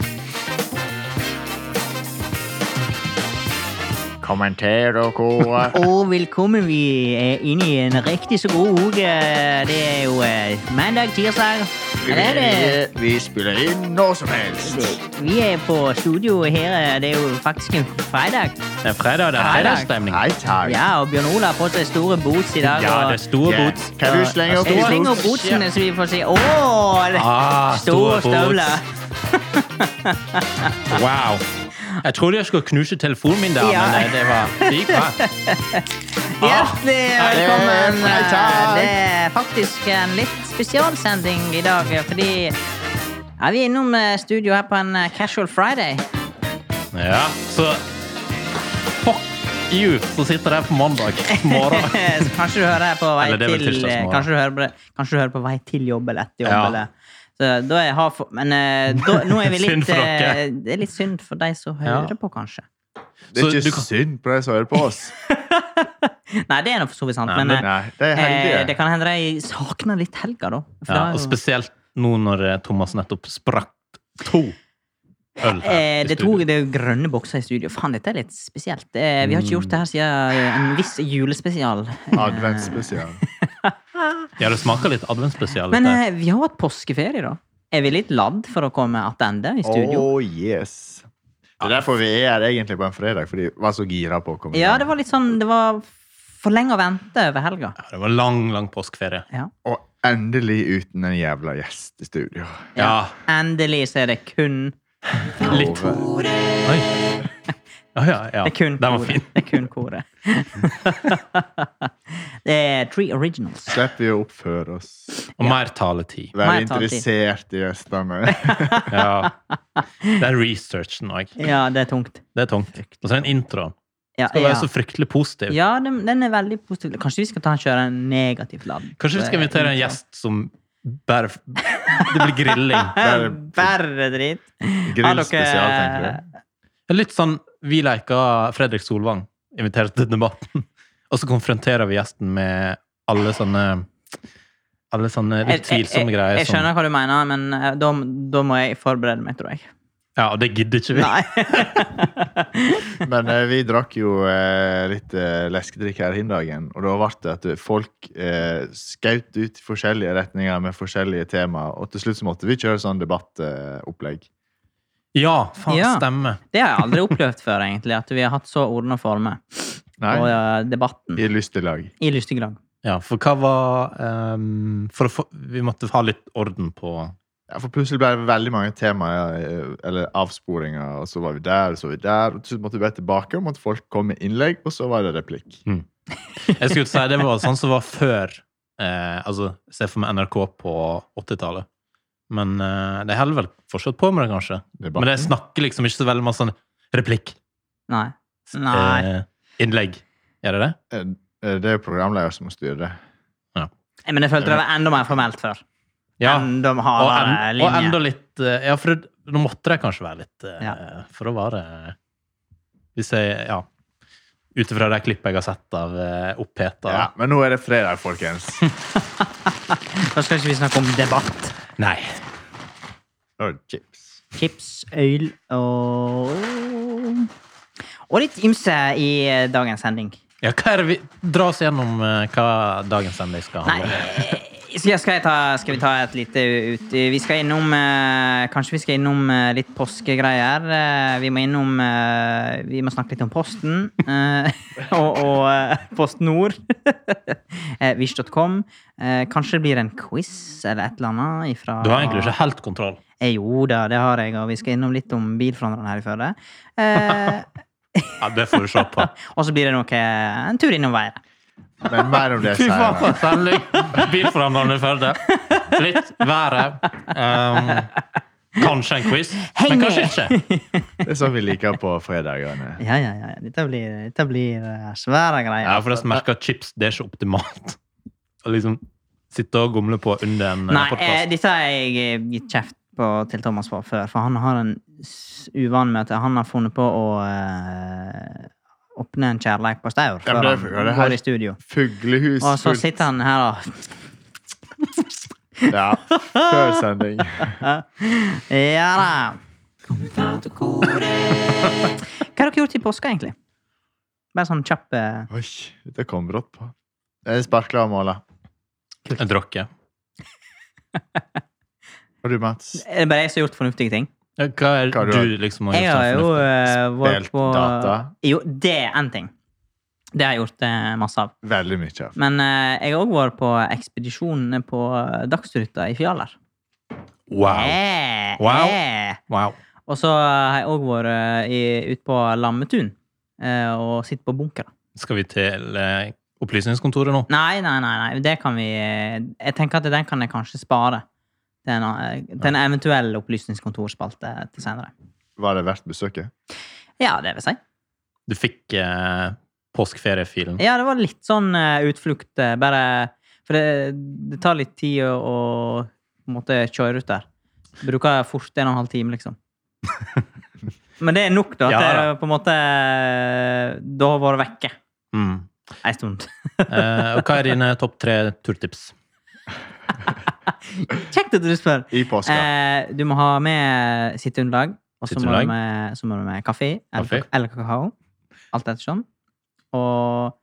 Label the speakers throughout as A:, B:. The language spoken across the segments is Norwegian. A: kommentererkoret.
B: Og velkommen. Vi er inne i en riktig så god uke. Det er jo eh, mandag, tirsdag.
A: Vi,
B: Eller er det
A: vi spiller inn når som helst.
B: det- Vi er på studio her. Det er jo faktisk en fredag.
C: Det er fredag, det er
B: Fredag.
C: fredagsstemning.
A: Nei takk.
B: Ja, og Bjørn Olav har fått seg store boots i dag.
C: Ja,
B: og-
C: det er store
A: Ja.
C: boots.
A: Kan du slenge opp
B: Jeg slenger opp
A: boots?
B: bootsene, så vi får si Åh, det-
C: Ah,
B: store
C: store boots.
B: støvler.
C: Wow. Jeg trodde jeg skulle knuse telefonen min der,
B: Ja.
C: men eh, det var det gikk bra.
B: Hjertelig
C: Ah,
B: velkommen.
A: hei, hei, takk.
B: Det er faktisk en litt spesialsending i dag, fordi ja, vi er innom eh, studio her på en eh, casual friday.
C: Ja, så Fuck you som sitter der på mandag morgen.
B: Eh, Så kanskje du hører det på vei
C: Eller det er vel
B: til eh,
C: tirsdagsmorgen.
B: kanskje du, hører på det, kanskje du hører på vei til jobb eller etter jobb.
C: Ja.
B: Eller. Så da er jeg har for, men eh, da, nå er vi
C: Synd
B: litt
C: for dere.
B: eh, Det er litt synd for de som
C: Ja.
B: hører på, kanskje.
A: Det er
C: Så du
A: ikke
C: kan-
A: synd på deg som hører på oss.
B: Nei, det er nå for så vidt sant,
C: Nei,
B: men
C: men-
B: eh,
A: Nei, det er
B: Eh, det
A: heldige.
B: kan hende de savner litt helga, da. For
C: Ja,
B: det
C: og
B: var jo-
C: spesielt nå når eh, Thomas nettopp sprakk to øl
B: Eh,
C: her. i
B: det, tok,
C: studio.
B: det er jo grønne bokser i studio. Faen, dette er litt spesielt. Eh, vi har ikke gjort det her siden eh, en viss julespesial.
A: Adventsspesial.
C: Ja, det smaker litt adventsspesial.
B: Men
C: dette.
B: eh, vi har hatt påskeferie, da. Er vi litt ladd for å komme tilbake i studio?
A: Oh yes. Det er derfor vi er her egentlig på en fredag, fordi vi var så gira på å komme.
B: Ja,
A: hjem.
B: det var litt sånn Det var for lenge å vente over helga.
C: Ja, det var lang, lang påskeferie.
B: Ja.
A: Og endelig uten en jævla gjest i studio.
C: Ja,
B: Endelig så er det kun
C: litt Oi. Å ja, ja.
B: Det er kun
C: Den var
B: koret.
C: fin.
B: Det er kun koret. det er Three Originals.
A: Slipper vi å oppføre oss.
C: Og mer taletid.
A: Være
B: Mer taletid.
A: interessert i gjestene.
C: Ja. Det er researchen òg.
B: Ja, det er tungt.
C: Det er tungt. Og så er det en intro.
B: Ja,
C: Skal være
B: ja.
C: så fryktelig positiv.
B: Ja, den, den er veldig positiv. Kanskje vi skal ta kjøre en negativ ladd?
C: Kanskje vi skal invitere en gjest som bare Det blir grilling.
A: Bare-
B: Bare dritt. Har dere-
A: Grillspesial, tenker du.
C: Det er Litt sånn vi leker Fredrik Solvang. Inviterer til debatten. Og så konfronterer vi gjesten med alle sånne alle sånne litt tvilsomme
B: jeg,
C: greier.
B: jeg, jeg skjønner hva du mener, men eh, da, da må jeg forberede meg, tror jeg.
C: Som, ja, og det gidder ikke vi.
B: Nei.
A: Men eh, vi drakk jo eh, litt eh, leskedrikk her hin dagen, og da ble det at folk eh, skjøt ut i forskjellige retninger med forskjellige temaer, og til slutt så måtte vi kjøre sånn debattopplegg.
C: Ja, faen,
B: Ja.
C: stemmer.
B: Det har jeg aldri opplevd før, egentlig, at vi har hatt så ordne former
A: Nei,
B: på eh, debatten
A: i lystig lag.
B: i lystig lag.
C: Ja, for hva var ehm, For å få Vi måtte ha litt orden på
A: Ja, for plutselig ble det veldig mange temaer, eh, eller avsporinger, og så var vi der, og så var vi der, og til slutt måtte vi bare tilbake, og måtte folk komme med innlegg, og så var det replikk.
C: Jeg skulle si det var sånn som var før eh, Altså, se for meg NRK på 80-tallet. Men eh, de holder vel fortsatt på med det, kanskje.
A: Debatten.
C: Men de snakker liksom ikke så veldig masse sånn replikk.
B: Nei. Nei.
C: Eh, innlegg. Gjør de det?
A: Eh, Det er jo programleder som styrer det.
B: Men jeg følte det var enda mer formelt før.
C: Ja.
B: Enda
C: Og,
B: hardere
C: en, og
B: linje.
C: enda litt eh, Ja, for det- nå måtte de kanskje være litt eh,
B: Ja.
C: For å være eh, Hvis jeg Ja. Ut ifra de klippene jeg har sett av eh, oppheta
A: Ja, men nå er det fredag, folkens.
B: Da skal ikke vi snakke om debatt.
C: Nei.
A: Nå er det chips.
B: chips, øl og Og litt ymse i eh, dagens sending.
C: Ja, hva er det vi Dra oss gjennom eh, hva dagens sending skal
B: Nei
C: handle om.
B: eh, skal, skal, jeg ta, skal vi ta et lite ut Vi skal innom eh, Kanskje vi skal innom eh, litt påskegreier. Eh, vi må innom eh, Vi må snakke litt om Posten. eh, og og eh, Post Nord. eh, Wish.com. Eh, kanskje det blir en quiz eller et eller annet ifra
C: Du har egentlig ikke helt kontroll.
B: Eh, jo da, det har jeg, og vi skal innom litt om bilforhandleren her i Førde. Eh,
C: Ja, det får du se på.
B: Og så blir det noe, en tur innom veien.
A: Men mer om det senere.
C: sending! Bilforhandlerne i Førde. Litt været. Um, kanskje en quiz,
B: Heng
C: men
B: med.
C: kanskje ikke.
A: Det er sånn vi liker på fredagene.
B: Ja, ja, ja. Dette blir, dette blir eh, svære greier.
C: Jeg har forresten merka at chips det er ikke optimalt. Å liksom sitte og gomle på under en
B: Nei, eh,
C: podkast.
B: dette har jeg eh, gitt kjeft på, til Thomas på før, for han har en s- uvan med at han har funnet på å eh, åpne en kjærleik på staur
A: Ja, men
B: før
A: det er- ja, det er helt-
B: han går i studio.
A: Fuglehus
B: Og så
A: fullt-
B: sitter han her og
A: Ja, før sending.
B: Ja da! Hva har dere gjort i påska, egentlig? Bare sånn kjapp eh,
A: Oi, dette kom brått på. Jeg sparkla og måla.
C: En drokke.
A: Og du, Mats?
B: Er det bare jeg som har gjort fornuftige ting?
C: Ja, Hva er
A: Hva har
C: det
A: du
C: du liksom har
B: Jeg har jo
C: gjort?
B: eh, vært
A: Spilt
B: på
A: data
B: Jo, det er én ting. Det har jeg gjort eh, masse av.
A: veldig mye av.
B: Men eh, jeg har òg vært på ekspedisjon på eh, Dagsruta i Fjaler.
C: Wow.
B: Eh,
C: Wow.
B: eh.
C: wow.
B: Og så har jeg òg vært eh, i- ute på Lammetun eh, og sittet på bunker.
C: Skal vi til eh, opplysningskontoret nå?
B: Nei, nei, nei, nei. Det kan vi eh, Jeg tenker at den kan jeg kanskje spare. Til en, eh, til en eventuell opplysningskontorspalte til senere.
A: Var det verdt besøket?
B: Ja, det vil si.
C: Du fikk eh, påskeferiefilen.
B: Ja, det var litt sånn eh, utflukt, eh, bare For det, det tar litt tid å, å på en måte kjøre ut der. Bruker fort en og en halv time, liksom. Men det er nok, da. At
C: Ja, da.
B: jeg på en måte eh, Da har vært vekke
C: Mm.
B: ei stund.
C: Eh, og hva er dine topp tre turtips?
B: Kjekt at du spør.
A: I påska.
B: Eh, du må ha med sitteunderlag, og så må,
C: Sitteunderlag.
B: du med- så må du med kaffe eller,
C: Kaffe.
B: kak- eller kakao. Alt ettersom. Og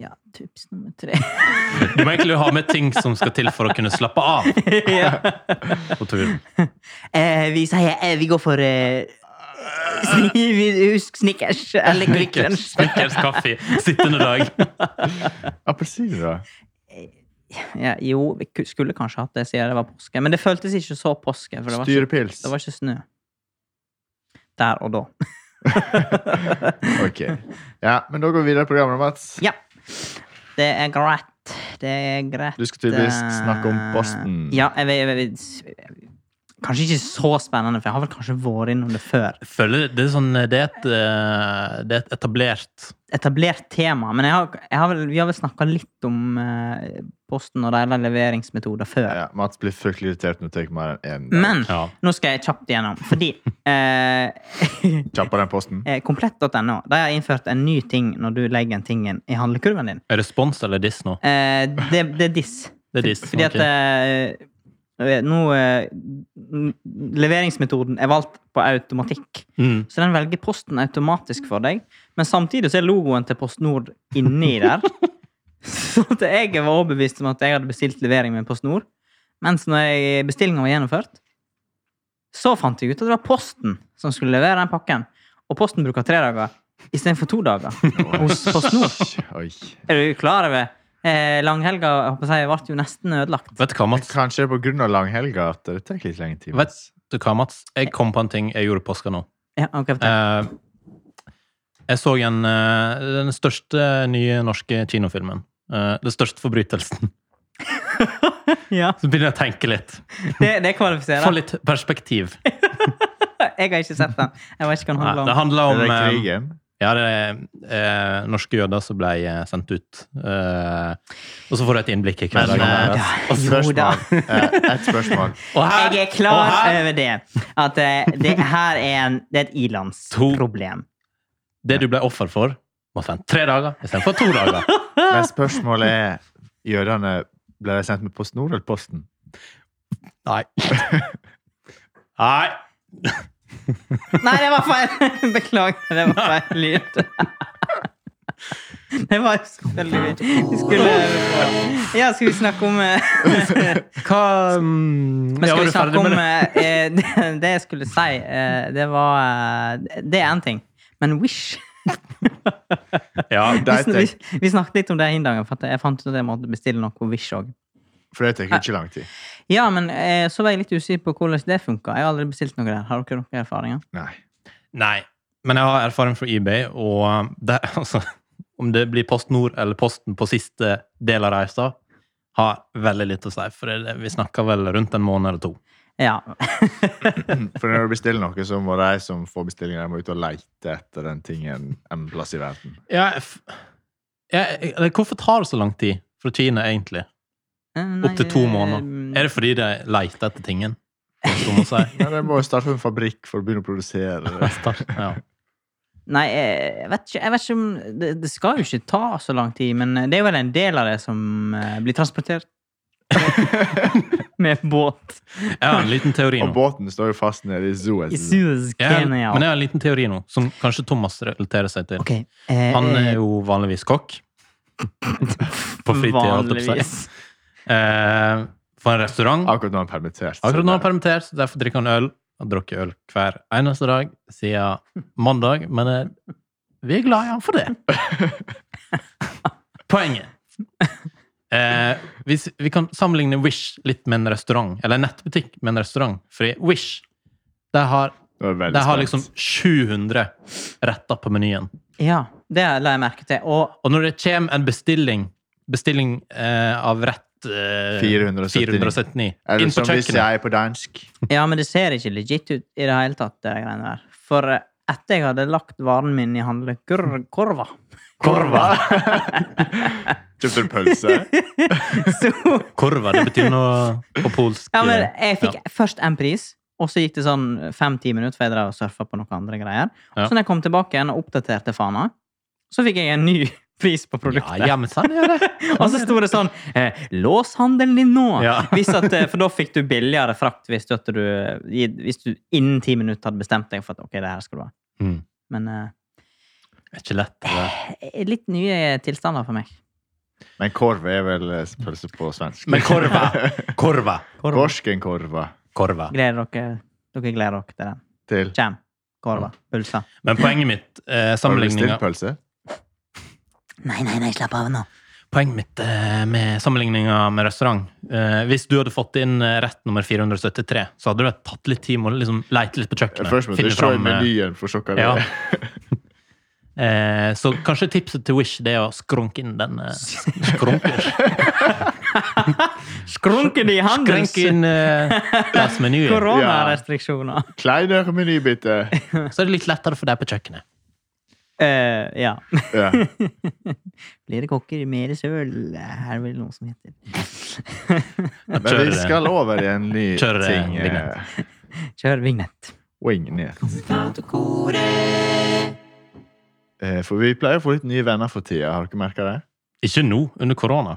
B: ja, tips nummer tre
C: Du må egentlig ha med ting som skal til for å kunne slappe av
B: ja.
C: på tur.
B: eh, Vi sier eh, vi går for eh, sni- vi- Husk Snickers eller Quick Lunch.
C: Snickers, kaffe, sittende dag.
A: Appelsiner, da?
B: Ja, jo, vi ku- skulle kanskje hatt det siden det var påske, men det føltes ikke så påske. For det var ikke,
A: Styrepils?
B: det var ikke snø. Der og da.
A: Ok. Ja, men da går vi videre i programmet, Mats.
B: Ja. Det er greit. Det er greit.
A: Du skal tydeligvis
B: eh,
A: snakke om Boston.
B: Ja, jeg, vet- jeg, vet- Kanskje ikke så spennende, for jeg har vel kanskje vært innom det før.
C: Jeg føler det er, sånn, det, er et, eh, det er et etablert
B: Etablert tema, men jeg har, jeg har vel, vi har vel snakka litt om eh, Posten og deres leveringsmetoder før.
A: Ja, Mats blir fryktelig irritert når du tar mer enn én.
B: Men
C: Ja.
B: nå skal jeg kjapt igjennom, fordi eh,
A: Kjappere enn posten.
B: eh, Komplett.no de har innført en ny ting når du legger en ting inn i handlekurven din.
C: Er det spons eh, eller diss nå?
B: Eh, det, det er diss.
C: Det er diss,
B: Fordi at
C: ok.
B: eh, eh, nå eh, n- Leveringsmetoden er valgt på automatikk.
C: Mm.
B: Så den velger Posten automatisk for deg, men samtidig så er logoen til Post Nord inni der. så at jeg var overbevist om at jeg hadde bestilt levering med Post Nord. Mens når bestillinga var gjennomført, så fant jeg ut at det var Posten som skulle levere den pakken. Og Posten bruker tre dager istedenfor to dager hos Eh, Post Nord.
A: Oi.
B: Er du klar over? Eh, langhelga jeg håper jeg, ble jo nesten ødelagt.
C: Vet du hva, Mats?
A: Kanskje det er på grunn av langhelga at det tar litt lenge tid.
C: Vet du hva, Mats? Jeg kom på en ting jeg gjorde i påska nå.
B: Ja, ok, fortell.
C: Eh, jeg så en, eh, den største nye norske kinofilmen. Eh, den største forbrytelsen.
B: ja,
C: Så begynner jeg å tenke litt.
B: det, det
C: Få
B: kvalifiserer.
C: litt perspektiv.
B: Jeg har ikke sett den. Jeg vet ikke hva den
C: Nei,
B: handler
C: det
B: om.
A: Er
C: handler om
A: det
C: eh,
A: krigen?
C: Ja, det er eh, norske jøder som ble eh, sendt ut. Eh, og så får du et innblikk i
A: Men,
C: hverdagen
A: eh,
C: deres.
B: Jo da.
A: Spørsmål. Eh, Et spørsmål.
C: Og her,
B: Jeg er
C: og
B: klar
C: her,
B: over det. At eh, det her er, en, det er et ilandsproblem.
C: det du ble offer for, var sendt tre dager istedenfor to dager.
A: Men spørsmålet er Jødene ble de sendt med Post Nord eller Posten?
C: Nei. Nei.
B: Nei, det var feil! Beklager, det var feil lyd. Det var selvfølgelig Vi skulle Ja, skal vi snakke om eh,
C: Hva mm,
B: Men
C: ja,
B: skal
C: var
B: vi
C: du
B: snakke
C: ferdig
B: om
C: med det?
B: eh, eh, det, det jeg skulle si, eh, det var eh, Det er én ting. Men Wish
C: Ja,
A: Det
B: vi,
A: er et-
B: vi, vi snakket litt om det den dagen, for at jeg fant ut at jeg måtte bestille noe Wish òg.
A: For det tar jo ikke lang tid.
B: Ja, men eh, så var jeg litt usikker på hvordan det funka. Jeg har aldri bestilt noe der. Har dere noen erfaringer?
A: Nei.
C: Nei, men jeg har erfaring fra eBay, og det, altså, om det blir Post Nord eller Posten på siste del av reisa, har veldig lite å si. For det, vi snakker vel rundt en måned eller to.
B: Ja. Eh,
A: For når du bestiller noe, så må de som får bestillingen, de må ut og leite etter den tingen en plass i verden.
C: Ja, jeg, f- jeg, jeg- eller hvorfor tar det så lang tid fra Kina, egentlig? Opp til
B: eh,
C: to
B: mm.
C: måneder. Er det fordi de leter etter tingen? Som man sier.
A: Ja, de må jo starte en fabrikk for å begynne å produsere.
C: Ja.
B: Nei, eh, jeg vet ikke, jeg vet ikke om det, det skal jo ikke ta så lang tid, men det er vel en del av det som eh, blir eh, transportert med båt
C: Jeg har en liten teori
A: Og
C: nå.
A: båten står jo fast nede i Suez.
B: i Suez,
C: Jeg har, men
B: Kenya.
C: jeg har en liten teori nå, som kanskje Thomas relaterer seg til.
B: Ok, eh,
C: Han er
B: eh,
C: jo vanligvis kokk. På fritida, holdt jeg på å si.
B: vanligvis.
C: Eh, For en restaurant.
A: Akkurat nå er han permittert. så
C: Akkurat nå er han
A: det-
C: permittert, så derfor drikker han øl. Han drukker øl hver eneste dag siden mandag, men eh, vi er glad i han for det. Poenget. Eh, hvis vi kan sammenligne Wish litt med en restaurant, eller en nettbutikk med en restaurant. For i Wish der har,
A: Nå er jeg veldig
C: der har
A: spent.
C: liksom 700 retter på menyen.
B: Ja, det la jeg merke til. Og
C: Og når det kommer en bestilling, bestilling eh, av rett eh,
A: 479.
C: 479
A: Eller
C: inn på
A: som de
C: kjøkkenet
A: sier på dansk.
B: Ja, men det ser ikke legit ut i det hele tatt, det greiene der. For eh, etter jeg hadde lagt varen min i handlekurva,
A: Korva! Kjøpte du pølse?
B: så
C: Korva, det betyr noe på polsk. eh,
B: Ja, men jeg fikk
C: Ja.
B: først en pris, og så gikk det sånn fem-ti minutter, for jeg drev og surfa på noen andre greier.
C: Ja.
B: Så når jeg kom tilbake igjen og oppdaterte fana, så fikk jeg en ny pris på produktet.
C: Ja, ja, men sånn er det.
B: Og så sto det sånn eh, Lås handelen din nå!
C: Ja.
B: Hvis at, eh, for da fikk du billigere frakt hvis du, at du, i- hvis du innen ti minutter hadde bestemt deg for at ok, det her skal du ha.
C: Mm.
B: Men eh,
C: Det er ikke lett. Det. der.
B: litt nye tilstander for meg.
A: Men korv er vel eh, pølse på svensk.
C: Men korva! Korva!
A: Torskenkorva
C: Korva.
B: Gleder dere, dere gleder dere til den.
A: til
B: Kjem. Korva. Pølser.
C: Men poenget mitt eh,
A: Har du bestilt
C: sammenligninga
A: pølse?
B: Nei, nei, nei, slapp av nå.
C: Poenget mitt eh, med sammenligninga med restaurant eh, Hvis du hadde fått inn eh, rett nummer 473, så hadde det tatt litt tid med å liksom leite litt på kjøkkenet.
A: Først må du
C: finne
A: se
C: fram, eh,
A: menyen for å se hva det
C: Ja.
A: er.
C: Eh, så kanskje tipset til Wish det er å skrunke inn den eh, skrunke,
B: Skrunken i
C: skrunke
B: handelen!
C: inn eh, deres meny. Så
B: Koronarestriksjoner.
A: Kleinere menybytte.
C: er det litt lettere for deg på kjøkkenet.
B: Eh, ja.
A: Ja.
B: Blir det kokker, mer søl. Her blir det noe som heter
A: Men vi skal over i en ny
C: Kjør, eh,
A: ting.
C: vignett.
A: eh,
B: Kjør vignett.
A: Wingnett. Eh, For vi pleier å få litt nye venner for tida, har dere merka det?
C: Ikke nå, under korona.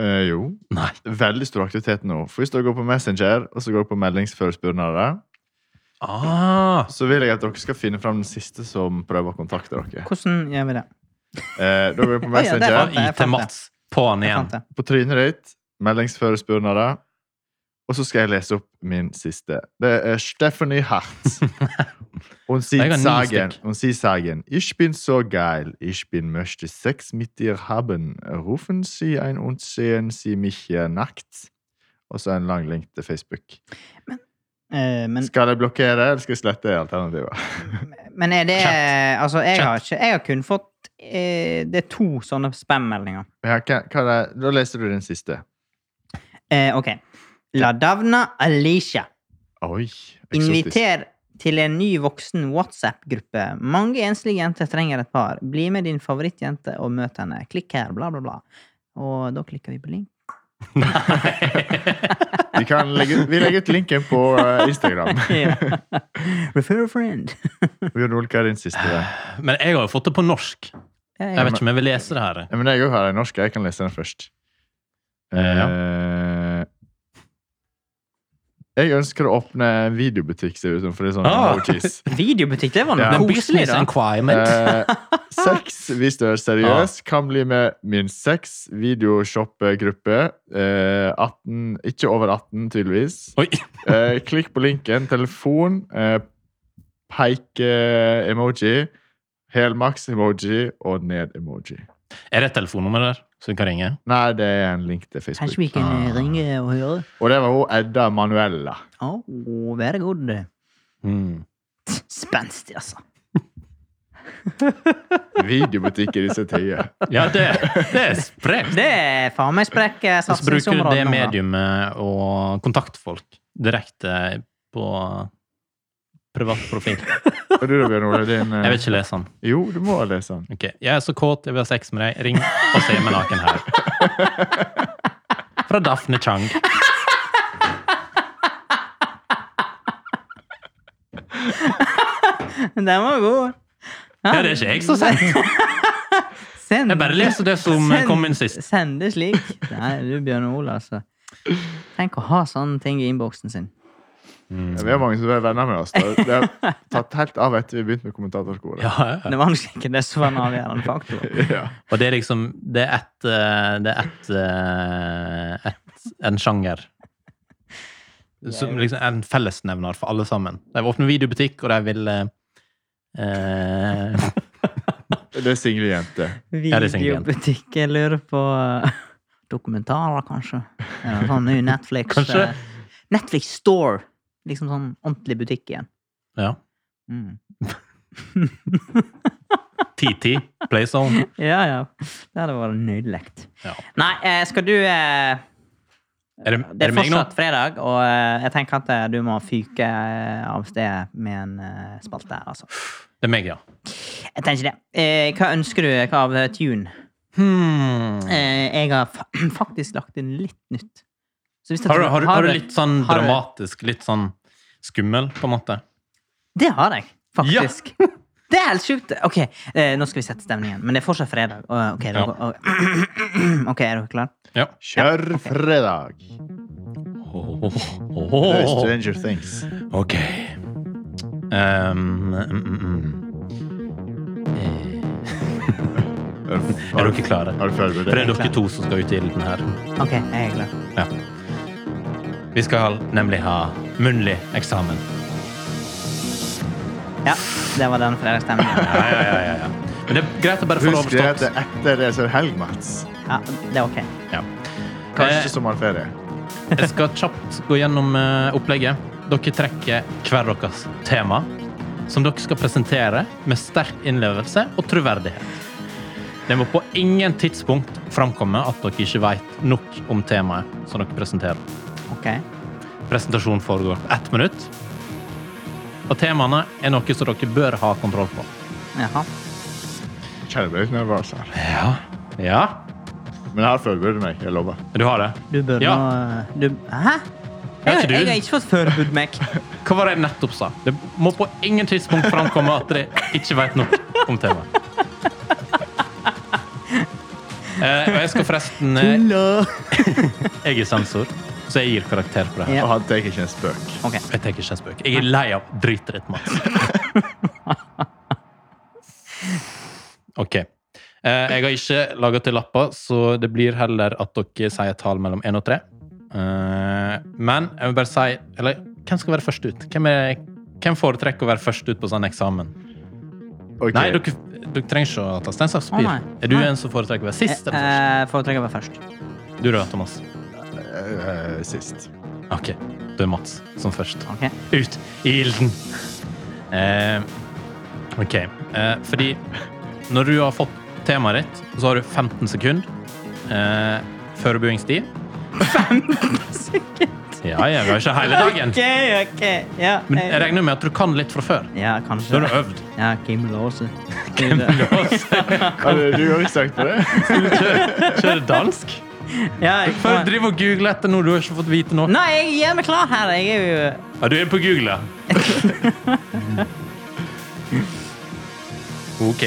A: Eh, jo.
C: Nei.
A: Veldig stor aktivitet nå. For hvis dere går på Messenger og så går dere på meldingsforespørsler,
C: Ah,
A: så vil jeg at dere skal finne fram den siste som prøver å kontakte dere.
B: Hvordan gjør vi det?
A: Eh, da går vi på
B: Å, ja, det
A: Messenger.
B: fant jeg, jeg fant det.
C: IT-Mats på han
B: Jeg
C: igjen.
B: fant det.
A: på trynet ditt, meldingsforespørsler, og så skal jeg lese opp min siste. Det er Stephanie Hart. Hun sier
C: Jeg har ni
A: sagen,
C: stykk.
A: hun sier sagen, Ich bin so geil, ich bin möchte Sex mit dir haben. Rufen Sie ein und sehen Sie mich hier nackt. Og så en lang link til Facebook.
B: Eh, men,
A: Skal jeg blokkere, eller skal jeg slette alternativet?
B: men er det
C: Chat.
B: Altså, jeg har, ikke, jeg har kun fått eh, Det er to sånne spam-meldinger.
A: Ja, hva, hva er det? Da leser du den siste.
B: Eh, ok. Ladavna Alicia.
A: Oi, eksotisk.
B: Inviter til en ny voksen WhatsApp-gruppe. Mange enslige jenter trenger et par. Bli med din favorittjente og møt henne. Klikk her, bla, bla, bla. Og da klikker vi på link.
A: Vi, kan legge, ut- vi legger ut linken på eh, Instagram.
B: Ja. Refer a friend.
A: Bjørn Olka er din siste. da.
C: Men jeg har jo fått det på norsk.
B: Ja, ja.
C: Jeg vet ikke om jeg vil lese det her.
A: Ja, men jeg òg har en norsk. Jeg kan lese den først.
C: Eh, ja.
A: Eh, jeg ønsker å åpne en videobutikk, ser det ut som. For det er sånn
C: Ah.
A: emojis.
B: Videobutikk, det var noe
A: Ja.
C: The
B: koselig,
C: business
B: da.
C: inquirement.
A: Eh, sex, hvis du er
C: Ah.
A: seriøs, kan bli med min sex videoshoppegruppe. Eh, 18, ikke over 18, tydeligvis.
C: Oi.
A: Eh, klikk på linken. Telefon. Eh, Peike-emoji. Helmaks-emoji og ned-emoji.
C: Er det et telefonnummer der, så vi kan ringe?
A: Nei, det er en link til Facebook.
B: Kanskje vi kan eh,
C: Ah.
B: ringe og høre?
A: Og det var hun Edda Manuella.
B: Å, vær god.
C: Mm.
B: Hmm. Spenstig, altså.
A: Videobutikk i disse tider.
C: Ja, det, det er sprekt.
B: Det er faen meg sprekk eh,
C: Så bruker du
B: satsingsområde. nå,
C: det
B: da.
C: mediumet og kontakte folk direkte på privat profil.
A: Og du da, Bjørn Ole? Din, eh,
C: Jeg vil ikke lese den.
A: Jo, du må sånn. lese den.
C: Ok, Jeg er så kåt, jeg vil ha sex med deg. Ring og se meg naken her. Fra Daphne Chang.
B: Den var god.
C: Ja, det er ikke jeg som sier det.
B: Send,
C: Jeg bare leser det som
B: send-
C: kom inn sist.
B: Send det slik. Nei, du Bjørn Ole, altså. Tenk å ha sånne ting i innboksen sin.
A: Ja, Vi har mange som er venner med oss. da. Det har tatt helt av etter vi begynte med kommentatorkoret.
C: Ja, ja, ja.
B: Det var nok ikke det som var en avgjørende faktor.
A: Ja.
C: Og det er liksom Det er ett eh, Det er ett eh, ett- En sjanger. Som liksom er en fellesnevner for alle sammen. De åpner videobutikk, og de vil eh, eh,
A: Det er single jenter.
C: Ja, det er sikkert en.
B: Videobutikk. Jeg lurer på eh, dokumentarer, kanskje. Eller sånn ny Netflix.
C: Kanskje.
B: eh, Netflix Store. Liksom sånn ordentlig butikk igjen.
C: Ja.
B: Mm.
C: TT. Playzone.
B: Ja, ja. Det hadde vært nydelig.
C: Ja.
B: Nei, eh, skal du eh,
C: Er det,
B: Det
C: er det
B: er
C: meg nå?
B: fortsatt fredag, og eh, jeg tenker at eh, du må fyke eh, av sted med en eh, spalte her, altså.
C: Det er meg, ja.
B: Jeg tenker det. Eh, Hva ønsker du hva av eh, tune?
C: Hmm.
B: Eh, Jeg har fa- faktisk lagt inn litt nytt. Så hvis jeg
C: Har du,
B: tror-
C: har, du, har du litt sånn
B: har du-
C: dramatisk, litt sånn skummel, på en måte?
B: Det har jeg, faktisk. Det er helt sjukt. Ok, eh, nå skal vi sette stemningen. Men det er fortsatt fredag. Og- eh, Ok,
C: Ja.
B: dere, og- ok, er dere klare?
C: Ja.
A: Kjør fredag! Det er Stranger Things.
C: Ok. Ehm, mm, mm, mm.
A: Er du-
C: Er dere klare?
A: Er du ferdig med
C: For det er
A: det?
C: dere to som skal ut i den her.
B: Ok, jeg er klar.
C: Ja. Vi skal nemlig ha munnlig eksamen.
B: Ja, det var den fredagsstemningen.
C: Ja, ja, ja, ja, ja. Men det er greit å bare få det
A: Husk det
C: overstått.
A: heter etter det så er det helg, Mats.
B: Ja, det er ok.
C: Ja.
A: Kanskje
C: Eh,
A: sommerferie.
C: Jeg skal kjapt gå gjennom eh, opplegget. Dere trekker hver deres tema, som dere skal presentere med sterk innlevelse og troverdighet. Det må på ingen tidspunkt framkomme at dere ikke vet nok om temaet som dere presenterer.
B: Ok.
C: Presentasjonen foregår på ett minutt. Og temaene er noe som dere bør ha kontroll på.
B: Jaha.
A: Kjenner meg litt nervøs her.
C: Ja. Ja.
A: Men jeg har forberedt meg. Jeg lover.
C: Du har det?
B: Du bør
C: Ja.
B: nå du, Hæ?
C: Ja, ikke
B: Jeg,
C: du.
B: jeg har ikke fått forbudt meg.
C: Hva var det jeg nettopp sa? Det må på ingen tidspunkt framkomme at dere ikke vet nok om temaet. Eh, og jeg skal forresten eh, Jeg er sensor, så jeg gir karakter på det. her.
B: Ja.
A: Og han tar ikke en spøk.
B: Ok.
C: Jeg tenker ikke en spøk. Jeg er lei av dritdritt, Mats. OK. Eh, jeg har ikke laga til lapper, så det blir heller at dere sier et tall mellom én og tre. Eh, men jeg vil bare si Eller hvem skal være først ut? Hvem, er, hvem foretrekker å være først ut på sånn eksamen?
A: Ok.
C: Nei, dere, dere trenger ikke å ta stein, saks,
B: Å,
C: papir.
B: nei.
C: er du
B: Nei.
C: en som foretrekker å være
B: Eh,
C: sist eller
B: eh, Foretrekker å være først.
C: først? Du da, Thomas.
A: Eh, eh, Sist.
C: OK. Du er Mats som først.
B: Ok.
C: Ut i ilden! Eh, ok, eh, fordi når du har fått temaet ditt, så har du 15 sekunder eh, forberedingstid. Ja, ja, vi har ikke hele dagen.
B: Ok, ok. Ja,
C: Men jeg
B: jeg,
C: regner med at du kan litt fra før.
B: ja
C: Så har du
B: kanskje.
C: øvd.
B: Ja, Kim Låse.
A: Har du du har ikke sagt på det?
C: Kjører dansk.
B: Ja, jeg-
C: Før du driver og googler etter noe du har ikke fått vite noe.
B: Nei, jeg gjør meg klar her. Jeg er jo
C: Ja, du er på Google. ja. ok.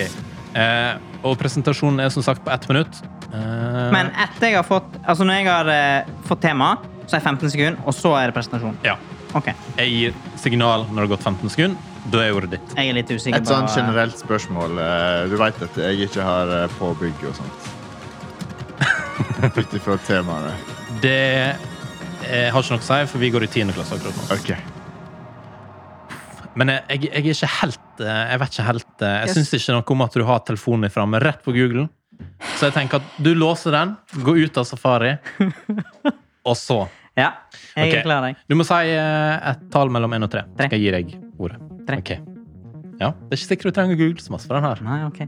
C: Eh, og presentasjonen er som sagt på ett minutt. Eh,
B: Men etter jeg har fått Altså når jeg har eh, fått tema, så er det 15 sekunder, og så er det presentasjon.
C: Ja.
B: Ok,
C: Jeg gir signal når det har gått 15 sekunder. Da er ordet ditt.
B: jeg er litt usikker
A: Et sånn
B: på-
A: generelt spørsmål. eh, Du veit at jeg ikke har eh, påbygg og sånt. Ut ifra temaene.
C: Det eh, har ikke noe å si, for vi går i 10. klasse akkurat nå.
A: OK.
C: Men eh, jeg, jeg er ikke helt eh, Jeg vet ikke helt eh, Jeg
B: Yes.
C: syns ikke noe om at du har telefonen din framme rett på Google. Så jeg tenker at du låser den, går ut av safari, og så
B: Ja, jeg
C: Ok.
B: er klar, jeg.
C: Du må si eh, et tall mellom 1 og 3.
B: Tre.
C: Skal jeg gi deg ordet.
B: Tre.
C: Ok. Ja, Det er ikke sikkert du trenger å google så masse for den her.
B: Nei, ok.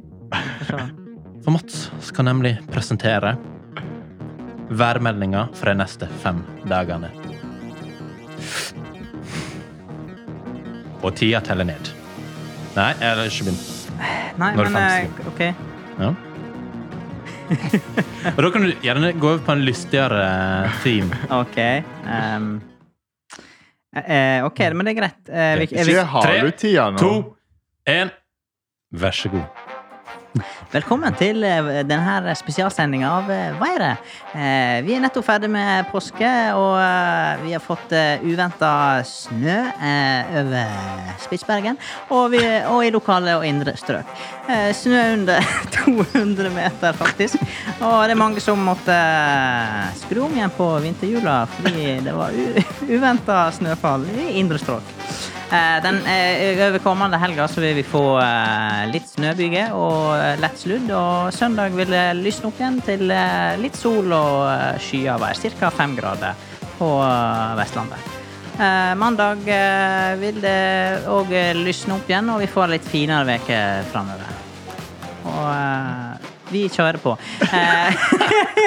B: Forstår.
C: For Mats skal nemlig presentere værmeldinga for de neste fem dagene. Og tida teller ned. Nei, jeg har ikke begynt.
B: Nei,
C: Nå er det
B: men
C: fem
B: eh, ok.
C: Ja. Og da kan du gjerne gå over på en lystigere eh, theme.
B: Ok. ehm. Eh, ok, men det er greit. Eh, vi-
C: Greit.
B: vi-
A: Ikke har
C: Tre,
A: du tida nå?
C: To, én, vær så god.
B: Velkommen til eh, denne spesialsendinga av eh, Veire. Eh, Vi er nettopp ferdig med påske, og eh, vi har fått uventa snø eh, over Spitsbergen. Og, vi, og i lokale og indre strøk. Eh, Snø under 200 meter, faktisk. Og det er mange som måtte eh, skru om igjen på vinterhjula fordi det var uventa snøfall i indre strøk. Eh, Den eh, over kommende helga så vil vi få eh, litt snøbyge og eh, lett sludd. Og søndag vil det lysne opp igjen til eh, litt sol og eh, skyet vær. Cirka fem grader på eh, Vestlandet. Eh, Mandag eh, vil det òg lysne opp igjen, og vi får en litt finere veke framover. Og eh, vi kjører på. Eh,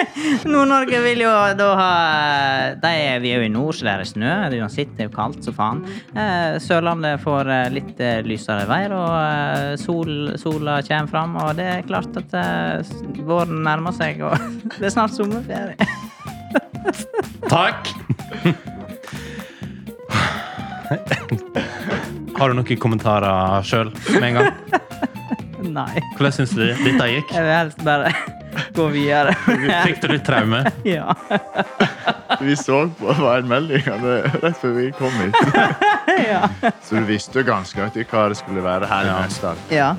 B: Nord-Norge vil jo da ha eh, de, er- Vi er jo i nord, så det er snø. Det er uansett, det er jo kaldt som faen. Eh, Sørlandet får eh, litt eh, lysere vær, og eh, sol, sola kommer fram. Og det er klart at eh, s- våren nærmer seg, og det er snart sommerferie.
C: Takk! Har du noen kommentarer sjøl med en gang?
B: Nei.
C: Hvordan syns du dette gikk?
B: Jeg vil helst bare gå videre.
C: Fikk du litt traume?
B: ja.
A: Vi så på det var en melding av det rett før vi kom hit.
B: ja.
A: Så du visste jo ganske nøyaktig hva det skulle være her
C: Ja.
A: neste år.
B: Ja.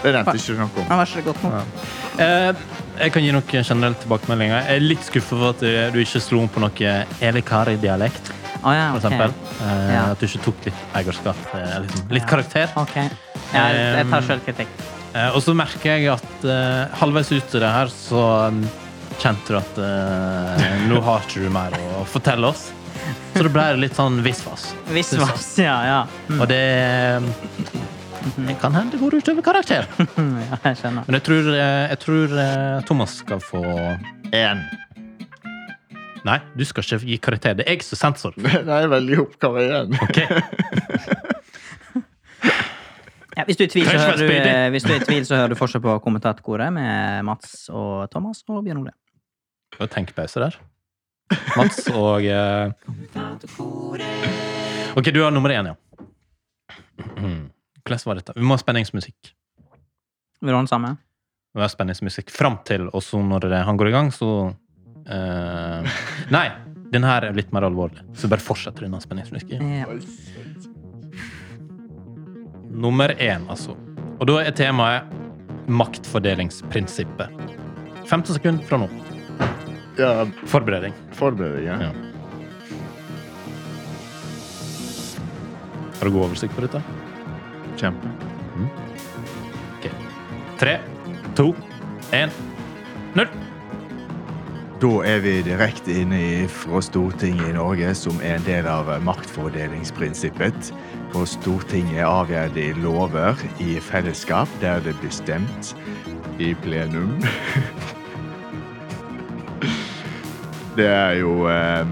A: Det nevnte ikke du noe om.
B: Han var ikke godt nok.
C: Ja. Eh, jeg kan gi noen generelle tilbakemeldinger. Jeg er litt skuffa over at eh, du ikke slo om på noe Elikari-dialekt,
B: Å ja,
C: for
B: ok.
C: eksempel. Eh,
B: Ja.
C: At du ikke tok litt eierskap. eh, Liksom. Litt
B: Ja.
C: karakter.
B: Ok. Ja, jeg, jeg tar sjølkritikk.
C: Eh, og så merker jeg at eh, halvveis ut i det her, så mm, kjente du at eh, nå har ikke du mer å fortelle oss. Så det ble litt sånn visvas.
B: Visvas, ja. ja.
C: Og det mm, det kan hende det går utover karakter.
B: Mm, ja jeg skjønner.
C: Men jeg tror, eh, jeg tror eh, Thomas skal få
A: Én.
C: Nei, du skal ikke gi karakter. Det er jeg som er sensor.
A: Nei, veldig oppgave igjen.
C: Ok.
B: Ja, hvis, du er i tvil, så
C: Kanskje
B: hører
C: vær
B: du,
C: spydig.
B: eh, hvis du er i tvil, så hører du fortsatt på kommentatkoret med Mats og Thomas og Bjørn Ole.
C: Det var tenkepause der. Mats og eh, Ok, du har nummer én, ja. Hvordan var dette? Vi må ha spenningsmusikk.
B: Vil du ha den samme?
C: Vi må ha spenningsmusikk fram til, og så når det- han går i gang, så eh, Nei! Den her er litt mer alvorlig, så bare fortsetter denne spenningsmusikken.
B: Ja.
C: Nummer én, altså. Og da er temaet maktfordelingsprinsippet. 15 sekunder fra nå.
A: Ja,
C: Forberedning.
A: forbered deg. Ja.
C: Har du god oversikt på dette?
A: Kjempe.
C: Ok. Tre, to, én, null.
A: Da er vi direkte inne i- fra Stortinget i Norge, som er en del av maktfordelingsprinsippet. På Stortinget avgjør de lover i fellesskap, der det blir stemt i plenum. Det er jo eh,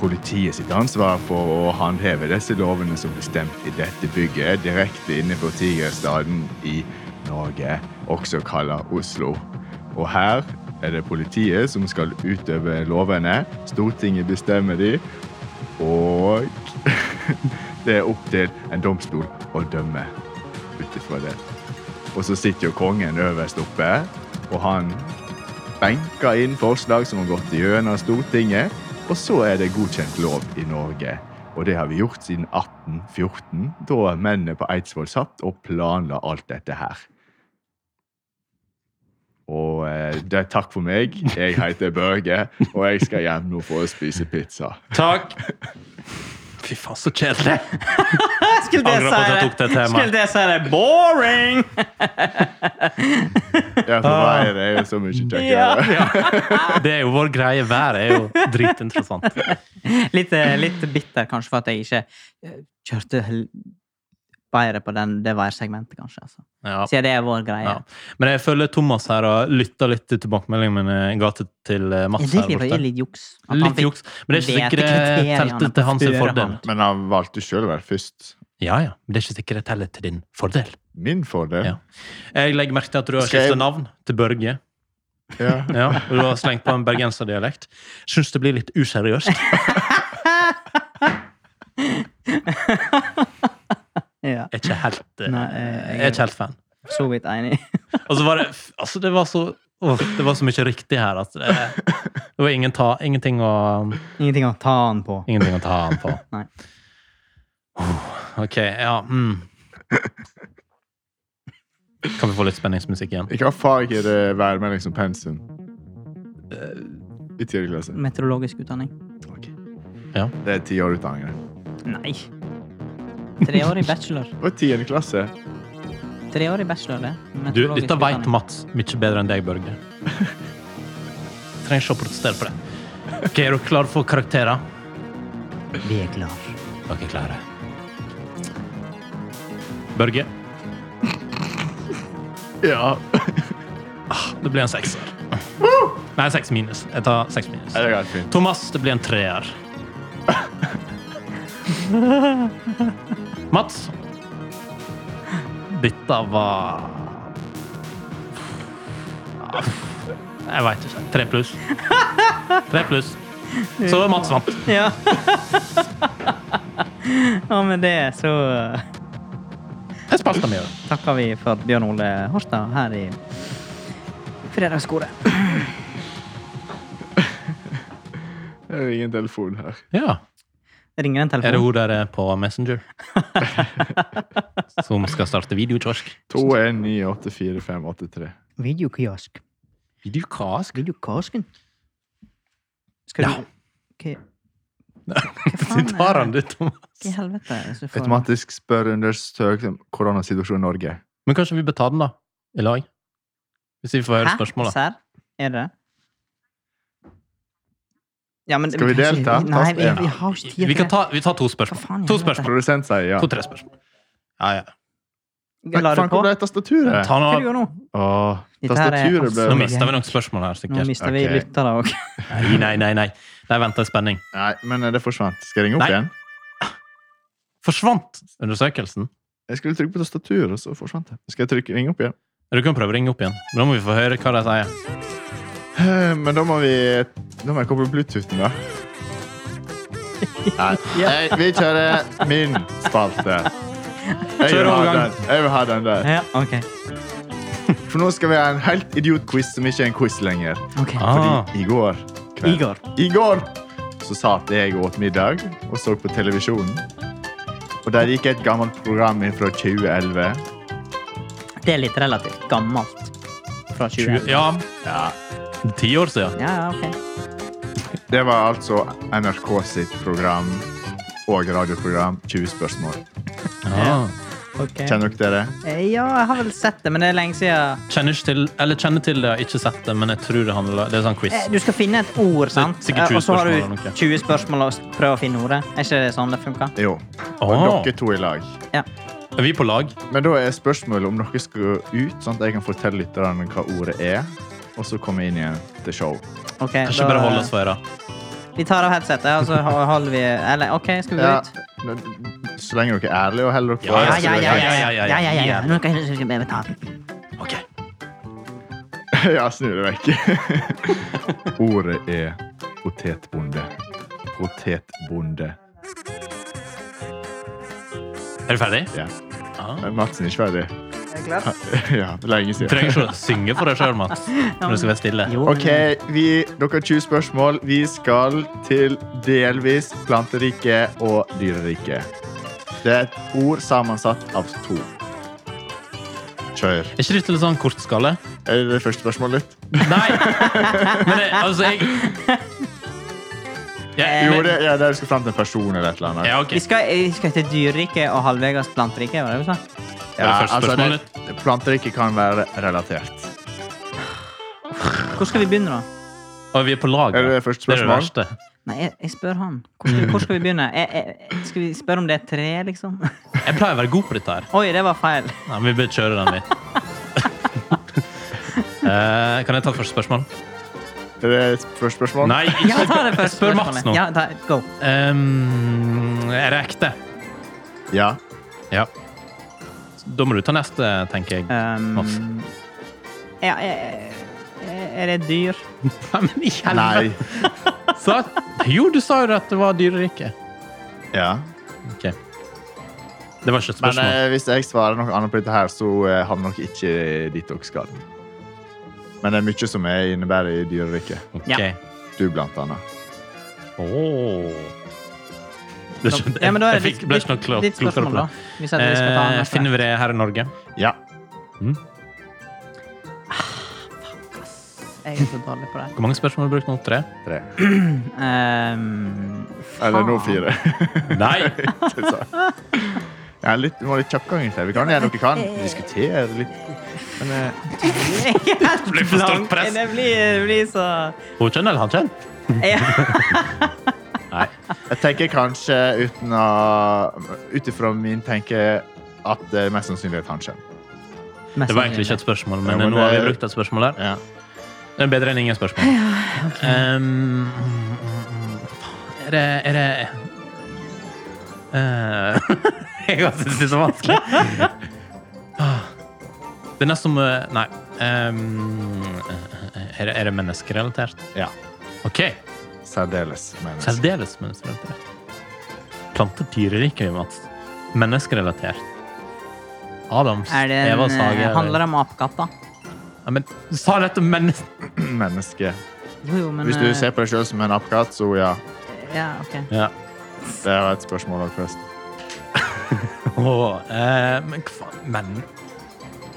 A: politiet sitt ansvar for å håndheve disse lovene som blir stemt i dette bygget, direkte inne på Tigerstaden i Norge, også kalla Oslo. Og her er det politiet som skal utøve lovene. Stortinget bestemmer de, og det er opp til en domstol å dømme ut ifra det. Og så sitter jo kongen øverst oppe, og han benka inn forslag som har gått gjennom Stortinget, og så er det godkjent lov i Norge. Og det har vi gjort siden 1814, da mennene på Eidsvoll satt og planla alt dette her. Og eh, det er takk for meg. Jeg heter Børge, og jeg skal hjem nå for å spise pizza.
C: Takk. Fy faen, så kjedelig.
B: Eh, Skulle
C: Angrer på at jeg tok det temaet.
B: Skulle det si det? Boring!
A: Ja, for Veier er jo så mye kjekkere.
B: Ja.
C: Det er jo vår greie. Været er jo dritinteressant.
B: Litt, eh, litt bitter kanskje for at jeg ikke eh, kjørte hel- bedre på den, det værsegmentet, kanskje. Altså.
C: Ja.
B: Siden det er vår greie.
C: Ja. Men jeg føler Thomas her har lytta litt til tilbakemeldingene mine ga til, til eh,
B: Jeg
C: Mats. her
B: liker det
C: borte.
B: var litt juks. At han
C: Litt
B: fikk
C: juks. Men det er ikke sikkert det
B: kriteriene
C: telte til hans
B: på forhånd.
C: fordel.
A: Men han valgte sjøl å være først.
C: Ja, ja. Men det er ikke sikkert det teller til din fordel.
A: Min fordel.
C: Ja. Jeg legger merke til at du har
A: Skal jeg-
C: skiftet navn til Børge.
A: Ja.
C: Ja, og du har slengt på en bergenserdialekt. Syns det blir litt useriøst.
B: Ja,
C: Jeg er ikke helt, eh,
B: Nei, jeg-
C: jeg er ikke helt fan.
B: eh, så vidt enig.
C: Og så var det f- Altså, det var så åh, Det var så mye riktig her at det, det var ingen ta, ingenting å
B: Ingenting å ta han på.
C: Ingenting å ta an på.
B: Nei.
C: Ok, ja. Mm. Kan vi få litt spenningsmusikk igjen?
A: Hvilken fag er det værmelding som pensum? I tiende klasse.
B: Meteorologisk utdanning.
C: Ja.
A: Det er ti år utdanning. det.
B: Nei. Treårig bachelor.
A: Og tiende klasse.
B: Treårig bachelor, det.
C: Du,
B: Meteorologisk
C: dette
B: utdanning.
C: veit Mats mye bedre enn deg, Børge. Trenger ikke å protestere på det. Ok, Er du klar for karakterer?
B: Vi er klare.
C: Dere er klare. Børge,
A: Ja.
C: det blir en sekser. Nei, seks minus. Jeg tar seks minus.
A: Det går fint.
C: Thomas, det blir en treer. Mats. Dette var Jeg veit ikke. Tre pluss. Tre pluss. Så Mats vant.
B: Ja. Og med det så eh,
C: Jeg spilte mye.
B: takker vi for at Bjørn Ole Horstad her i Fredagskoret.
A: Det er ingen telefon her.
C: Ja.
B: Ringer en
C: Er det
B: telefon?
C: hun der er på Messenger? Som skal starte videokiosk?
A: 2198453.
B: Videokiosk.
C: Videokiosk?
B: Videokiosken. Skal du
C: Ja.
B: Hva
C: Du tar
B: eh.
C: han, du, Thomas.
B: hva i helvete er det som får
A: Automatisk spørreundersøkelse om koronasituasjonen i Norge.
C: Men kanskje vi bør ta den, da? I lag? Hvis vi får høre spørsmålet.
B: Serr? Er det det? Ja, men
A: Skal vi
B: kanskje-
A: delta?
B: Nei, vi,
A: Tast en.
B: vi har ikke tid til
C: Vi kan
B: det.
C: ta, vi tar to
B: Hva
C: spørsmål.
B: faen i
C: To
B: helvete?
C: spørsmål.
A: Produsent sier ja.
C: To-tre spørsmål. Ja, ja.
B: La du
A: Faen,
B: på?
A: hvor ble tastaturet?
C: Ta
B: Hva du
C: nå.
B: gjør nå?
A: Åh,
B: Dette her er
A: tastaturet
B: absolutt-
A: ble
C: Nå mister vi noen spørsmål her,
B: Nå
C: sikkert.
B: mister vi
A: Ok.
B: lyttere òg.
C: Nei, nei, nei. nei. De venter i spenning.
A: Nei, men det forsvant. Skal jeg ringe opp
C: Nei.
A: igjen?
C: Forsvant undersøkelsen?
A: Jeg skulle trykke på tastaturet, og så forsvant det. Skal jeg trykke, ringe opp igjen?
C: Du kan prøve å ringe opp igjen. Men da må vi få høre hva de sier.
A: Eh, Men da må vi Da må jeg koble Bluetoothen, da. Nei. Nei, vi kjører min spalte. Jeg vil, ha
C: Kjør overgang.
A: den. jeg vil ha den der.
B: Ja, ok.
A: For nå skal vi ha en helt idiot-quiz som ikke er en quiz lenger.
B: ok.
C: Ah.
A: Fordi i går kveld
B: Igor.
A: I går så satt jeg og åt middag og så på televisjonen. Og der gikk et gammelt program inn fra 2011.
B: Det er litt relativt gammelt. Fra 2011.
C: Ja,
A: Ja.
C: ti år siden.
B: Ja, ja, ok.
A: Det var altså NRK sitt program og radioprogram 20 spørsmål.
C: Ja.
B: Ok.
A: Kjenner dere til det?
B: Eh, Ja, jeg har vel sett det, men det er lenge siden.
C: Kjenner ikke til, eller kjenner til det, har ikke sett det, men jeg tror det handler Det er sånn quiz.
B: Eh, Du skal finne et ord, sant?
C: sikkert 20
B: Eh, Og så har
C: spørsmål
B: du
C: eller noe.
B: 20 spørsmål og s- prøve å finne ordet. Er ikke det sånn det funker?
A: Jo. Og
C: Åh.
A: dere to i lag.
B: Ja.
C: Er vi på lag?
A: Men da er spørsmålet om dere skal gå ut, sånn at jeg kan fortelle lytterne hva ordet er. Og så komme inn igjen til show.
B: Ok,
C: Kanskje
B: da-
C: bare holde oss for øra.
B: Vi tar av headsetet, og så ho- holder vi Eller OK, skal vi gå
A: Ja,
B: ut?
A: men Så lenge dere er ærlige og holder dere for
C: Ja,
B: Ja,
A: så er det
B: ja, ja.
A: greit.
B: ja, ja, ja, ja, ja. Nå kan jeg skal jeg ta den.
C: Ok.
A: Ja, snu det vekk. Ordet er potetbonde. Potetbonde.
C: Er du ferdig?
A: Ja.
C: Ah.
A: Men Madsen er ikke ferdig.
B: Er du klar?
A: Ja, det er lenge
C: Du
A: siden.
C: trenger ikke å synge for deg sjøl, Mats. Når du skal være stille.
B: Jo.
A: OK, vi, dere har 20 spørsmål. Vi skal til delvis planteriket og dyreriket. Det er et ord sammensatt av to. Kjør.
C: Er ikke dette litt sånn kortskalle?
A: Er det det første spørsmålet ditt?
C: Nei! Men det, altså, jeg ja,
A: Jo,
C: Eh, men-
A: det ja, der du skal fram til en person eller et eller annet.
C: Ja, ok.
B: Vi skal, vi skal til dyreriket og halvveis planteriket, var det du sa?
C: det første spørsmålet
A: altså, det- planteriket kan være relatert.
B: Hvor skal vi begynne, da?
C: Og vi er på lag.
A: Er det
C: da.
A: det første
C: Det er det
A: spørsmål?
C: verste.
B: Nei, jeg, jeg spør han. Hvor skal, hvor skal vi begynne? Jeg, jeg, skal vi spørre om det er tre, liksom?
C: Jeg pleier å være god på dette her.
B: Oi, det var feil.
C: Nei, men vi bør kjøre den, vi. Eh, kan jeg ta første spørsmål?
A: Er det et første spørsmål?
C: Nei, ikke
B: Ja, ta det første
C: Spør Mats
B: spørsmålet.
C: nå.
B: Ja, ta, go.
C: Ehm, er det ekte?
A: Ja.
C: Ja. Da må du ta neste, tenker jeg.
B: Um,
C: Mats.
B: ja, er, er det dyr?
C: Nei, men i helvete!
A: Nei.
C: Sa- Jo, du sa jo at det var dyreriket.
A: Ja.
C: Ok. Det var ikke et
A: Men
C: spørsmål.
A: eh, hvis jeg svarer noe annet på dette her, så eh, havner dere ikke dit dere skal. Men det er mye som er innebærer i dyreriket.
C: Ok.
B: ja.
A: Du, blant annet.
C: Åh. Det
B: Så-
C: skjønte jeg.
B: Ja, men da er
C: Jeg
B: det
C: fikk-
B: ditt-
C: ble ikke noe
B: ditt-
C: klar-
B: ditt
C: klokere på
B: spørsmål, da.
C: det.
B: Hvis at vi skal ta den
C: Eh,
B: etter.
C: finner vi det her i Norge? Mm.
A: Ja.
B: Jeg er så dårlig på det.
C: Hvor mange spørsmål har du brukt nå? Tre?
A: Tre.
B: Ehm,
A: Eller nå
B: faen.
A: fire.
C: Nei!
A: Ikke sant? ja, litt, vi må litt kjappgang inn til. Vi kan gjøre noe vi kan. Diskutere litt. Men eh,
B: Jeg er helt
C: blir for stort
B: blank.
C: press.
B: Det blir, det blir så
C: Hun kjenner eller han kjenner?
B: ja.
C: Nei.
A: Jeg tenker kanskje uten å Ut ifra min tenke at det er mest sannsynlig at han kommer.
C: Det var egentlig ikke et spørsmål, men
A: Ja, men
C: nå har vi
A: det-
C: brukt et spørsmål der.
A: Ja.
C: Det er bedre enn ingen spørsmål. Ehm, er det Er det Eh, Jeg har syntes det er så vanskelig. Ah. Det er nesten som eh, Nei. Ehm, er, det, er det menneskerelatert?
A: ja.
C: OK.
A: Særdeles. menneske.
C: Særdeles menneskerelatert. Planter dyreriket, Mats. Menneskerelatert. Adams,
B: Er det en,
C: Evas hage
B: eh, handler det om apekatter?
C: Ja, men du sa dette om mennesker
A: menneske.
B: Jo, jo, men
A: Hvis du
B: eh,
A: ser på deg sjøl som en apekatt, så ja.
B: Ja, ok.
C: ja.
A: Det var et spørsmål også, forresten.
C: Åh, eh, Men hva faen Men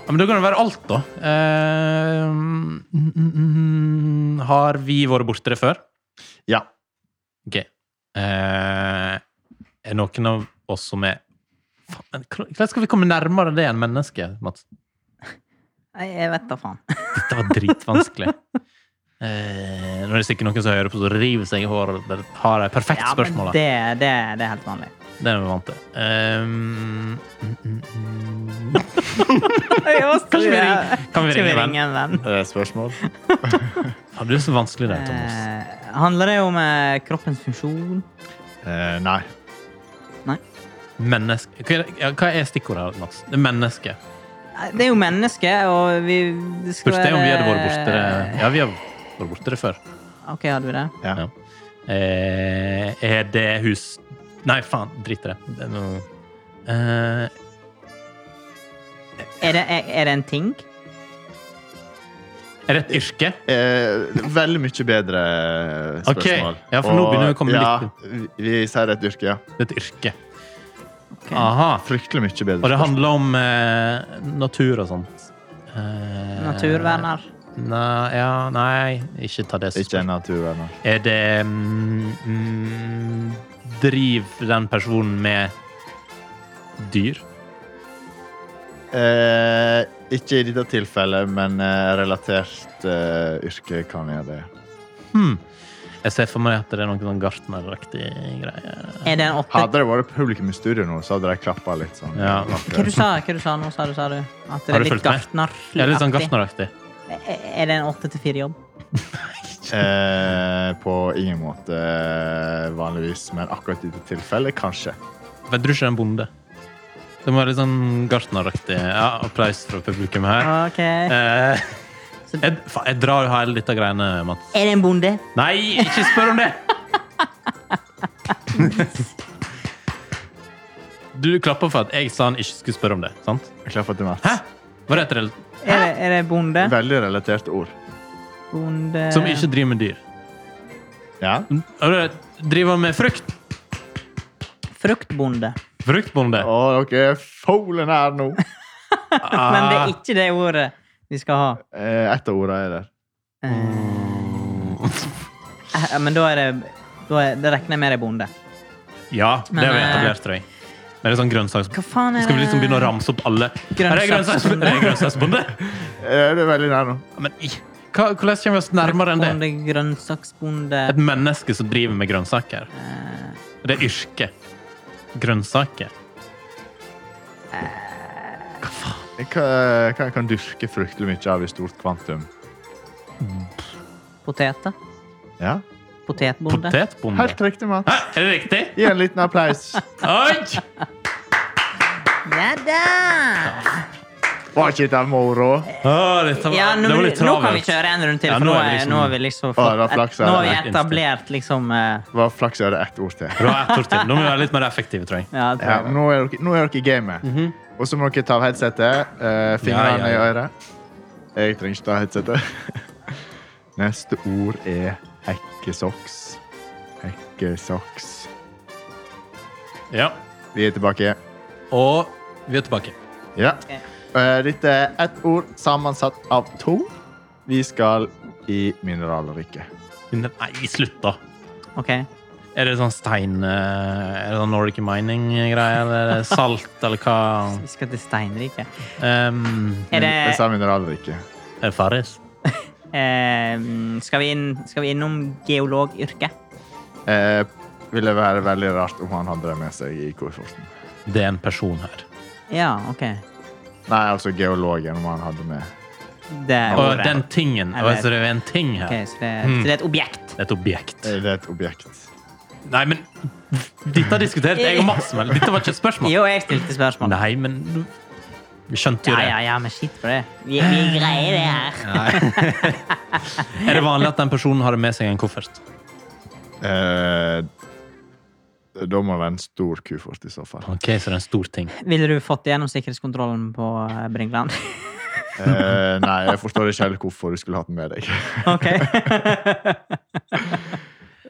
C: ja, men Da kan det være alt, da. Eh, mm, mm, mm, har vi vært borte det før?
A: Ja.
C: OK. Eh, er noen av oss som er Faen, Hvordan skal vi komme nærmere det enn mennesket, Mats?
B: Nei, jeg vet da faen.
C: Dette var dritvanskelig. Eh, når det er sikkert noen som hører på, så river seg i håret. Der har jeg perfekt
B: Ja, men
C: spørsmål. da.
B: det, det, det er helt vanlig.
C: Det er vi vant til. Ehm, mm, mm, mm. Kanskje vi ringer, kan
B: Skal
C: vi ringe
B: vi
C: en venn?
B: ringe en venn?
A: Er det et Eh, spørsmål?
C: Har du så vanskelig det, Thomas?
B: Eh, handler det om eh, kroppens funksjon?
A: Eh, nei.
B: Nei.
C: Menneske. Hva er, ja, hva er stikkordet her, Mats? Det er menneske.
B: Nei, Det er jo menneske, og vi det skal
C: Spørs det om vi hadde vært
B: være-
C: borte det Ja, vi har vært borte det før.
B: OK, hadde vi det?
A: Ja.
C: Ja. Eh, er det hus Nei, faen. Drit i det. det er noe... eh,
B: Er det, er, er det en ting?
C: er det et yrke?
A: Eh, veldig mye bedre spørsmål.
C: Ok. Ja, for nå begynner vi å komme
A: ja,
C: litt-
A: Vi, vi sier et yrke, ja.
C: Det er et yrke.
B: Ok.
C: Aha.
A: Fryktelig mye bedre.
C: Og det
A: spørsmål.
C: handler om eh, natur og sånt. Eh,
B: Naturverner?
C: Nei, ja, nei, ikke ta det som
A: Ikke en naturvenner.
C: spørsmål. Er det mm, mm, Driv den personen med dyr?
A: Eh, ikke i dette tilfellet, men eh, relatert eh, yrke kan gjøre det.
C: Hmm. Jeg ser for meg at det er noen sånn gartneraktig greie.
B: Er det en åtte...
A: Hadde det vært publikumsstudio nå, så hadde de klappa litt sånn.
C: Ja.
B: Hva du sa hva du sa nå, sa du? sa du? At det
C: Har
B: er
C: du
B: litt
C: fulgt med?
B: gartneraktig?
C: Ja, litt sånn gartneraktig.
B: Er er det en åtte til fire-jobb?
A: Eh, på ingen måte eh, vanligvis, men akkurat i dette tilfellet, kanskje.
C: Vet du ikke en bonde? Det må være litt sånn gartneraktig. Ja, applaus fra publikum her.
B: OK.
C: Eh, jeg, faen, jeg drar jo hele dette greiene, Mats.
B: Er det en bonde?
C: Nei, ikke spør om det! Du klapper for at jeg sa han ikke skulle spørre om det. sant?
A: Jeg klapper til Mats.
C: Hæ? Var det et reelt
B: Er det, er det bonde?
A: Veldig relatert ord.
B: bonde
C: Som ikke driver med dyr?
A: Ja.
C: Er det- Driver han med frukt?
B: Fruktbonde.
C: Fruktbonde?
A: Og dere er fole nær nå.
C: Ah.
B: Men det er ikke det ordet vi skal ha.
A: Eh, Ett av ordene er der.
B: Eh, Men da er det da er, Det regner jeg med det er bonde.
C: Ja, det
B: Men,
C: har vi
B: eh,
C: etablert, tror jeg. Det er sånn grønnsaks...
B: Hva faen er
C: Skal vi liksom
B: det?
C: begynne å ramse opp alle? Er det grønnsaksbonde? Er det grønnsaksbonde?
A: Eh, du er veldig nær nå.
C: Ja, Men i- hva, hvordan kommer vi oss nærmere enn det?
B: Bonde, grønnsaksbonde
C: Et menneske som driver med grønnsaker.
B: Eh.
C: Det er yrke. Grønnsaker.
A: Jeg kan, eh, kan, kan dyrke fryktelig mye av i stort kvantum.
B: Poteter?
A: Ja.
B: Potetbonde?
C: Potetbonde.
A: Helt riktig, Mats.
C: Hæ, er det riktig?
A: Gi en liten applaus.
C: Oi!
B: Ja da!
A: Var ikke dette moro?
C: Å, dette var,
B: Ja, nå,
C: det var litt
B: nå
C: travelt.
B: kan vi kjøre en runde til,
C: Ja,
B: for
C: nå
B: nå,
C: er
B: er,
C: det liksom-
B: nå har vi liksom
A: Å, det var
B: fått
A: flaks, ja.
B: Nå har vi
C: Helt
B: etablert liksom eh,
A: Det var flaks jeg hadde ett ord til.
C: Bra, ett ord til. Nå må vi være litt mer effektive, tror jeg.
B: ja, det tror
A: Ja,
B: jeg.
A: nå er dere, nå er dere i gamet. Og så må dere ta av headsetet. eh, fingrene
C: Mhm. Ja, ja, ja.
A: i øret. Jeg trenger ikke ta headsetet. Neste ord er hekkesoks. Hekkesoks.
C: Ja.
A: Vi er tilbake.
C: Og vi er tilbake.
A: Ja.
B: Ok.
A: Eh, Dette er ett ord sammensatt av to. Vi skal i mineralriket.
C: Nei, slutt, da.
B: Ok.
C: Er det sånn stein eh, Er det sånn Nordic mining-greie? Eller er det salt, eller hva?
B: Vi skal til steinriket.
C: Ehm,
B: Er det,
A: Jeg sa mineralriket.
C: er det Farris?
B: eh, skal, vi inn, skal vi innom geologyrket?
A: Eh, ville være veldig rart om han hadde det med seg i kofferten.
C: Det er en person her.
B: Ja, OK.
A: Nei, altså geologen om han hadde med.
B: Det er
C: Og
B: ordet.
C: den tingen.
B: Eller-
C: Altså, det er en ting her.
B: Ok, Eh. så, det,
C: Mm.
B: så det er et objekt.
C: Det er et objekt.
A: Er Eh, det et objekt?
C: Nei, men dette diskuterte jeg og Maxwell. Dette var ikke et spørsmål.
B: Jo, jeg stilte spørsmål.
C: Nei, men du- Vi skjønte jo
B: Ja,
C: det.
B: ja, ja, men skitt på det. Vi, vi greier det her.
C: Er det vanlig at den personen har med seg en koffert?
A: Eh, da må det være en stor kofert i så fall.
C: Ok, så det er en stor ting.
B: Ville du fått gjennom sikkerhetskontrollen på eh, Bringland?
A: Eh, nei, jeg forstår ikke helt hvorfor du skulle hatt den med deg.
B: OK.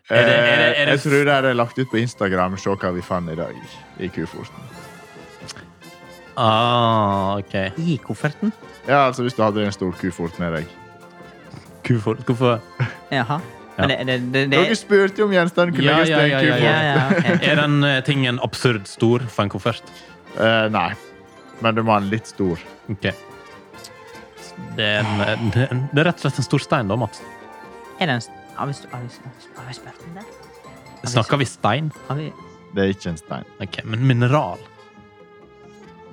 C: Er det- er det- er det-
A: Eh, Jeg tror det er lagt ut på Instagram. Se hva vi fant i dag i koferten.
C: Ah, ok.
B: I kofferten?
A: Ja, altså hvis du hadde en stor kofert med deg.
C: Kufort, hvorfor?
B: Jaha. Men det, det, det, det
A: Dere spurte jo om gjenstanden kunne
C: Ja,
A: legges
C: ja,
A: til
C: ja,
A: en
C: ja,
A: kofert.
B: Ja, ja, ok.
C: Er den eh, tingen absurd stor for en koffert?
A: Eh, nei, men du må ha den litt stor.
C: Ok. Det er, en, eh, det er rett og slett en stor stein, da, Mats.
B: Er det en st- Har vi, st- har vi, st- har vi spurt om det?
C: Snakker vi stein?
B: Har vi
A: Det er ikke en stein.
C: Ok, Men mineral?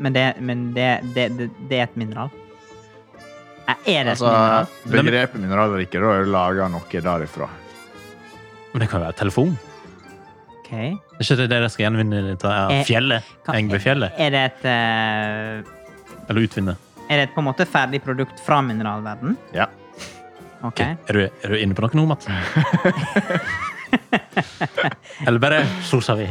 B: Men, det, men det, det, det, det er et mineral? Eh, Er det et
A: Altså,
B: mineral?
A: begrepet mineralrike da er jo laga noe derifra.
C: Men det kan jo være telefon?
B: Ok.
C: Er ikke det det de skal gjenvinne i dette
B: Eh,
C: fjellet?
B: Kan-
C: Englefjellet?
B: Er det et eh,
C: Eller utvinne?
B: Er det et på en måte ferdig produkt fra mineralverden?
A: Ja.
B: Ok.
C: Ok, Er, du, er du inne på noe nå, Mats? Eller bare sosa vi?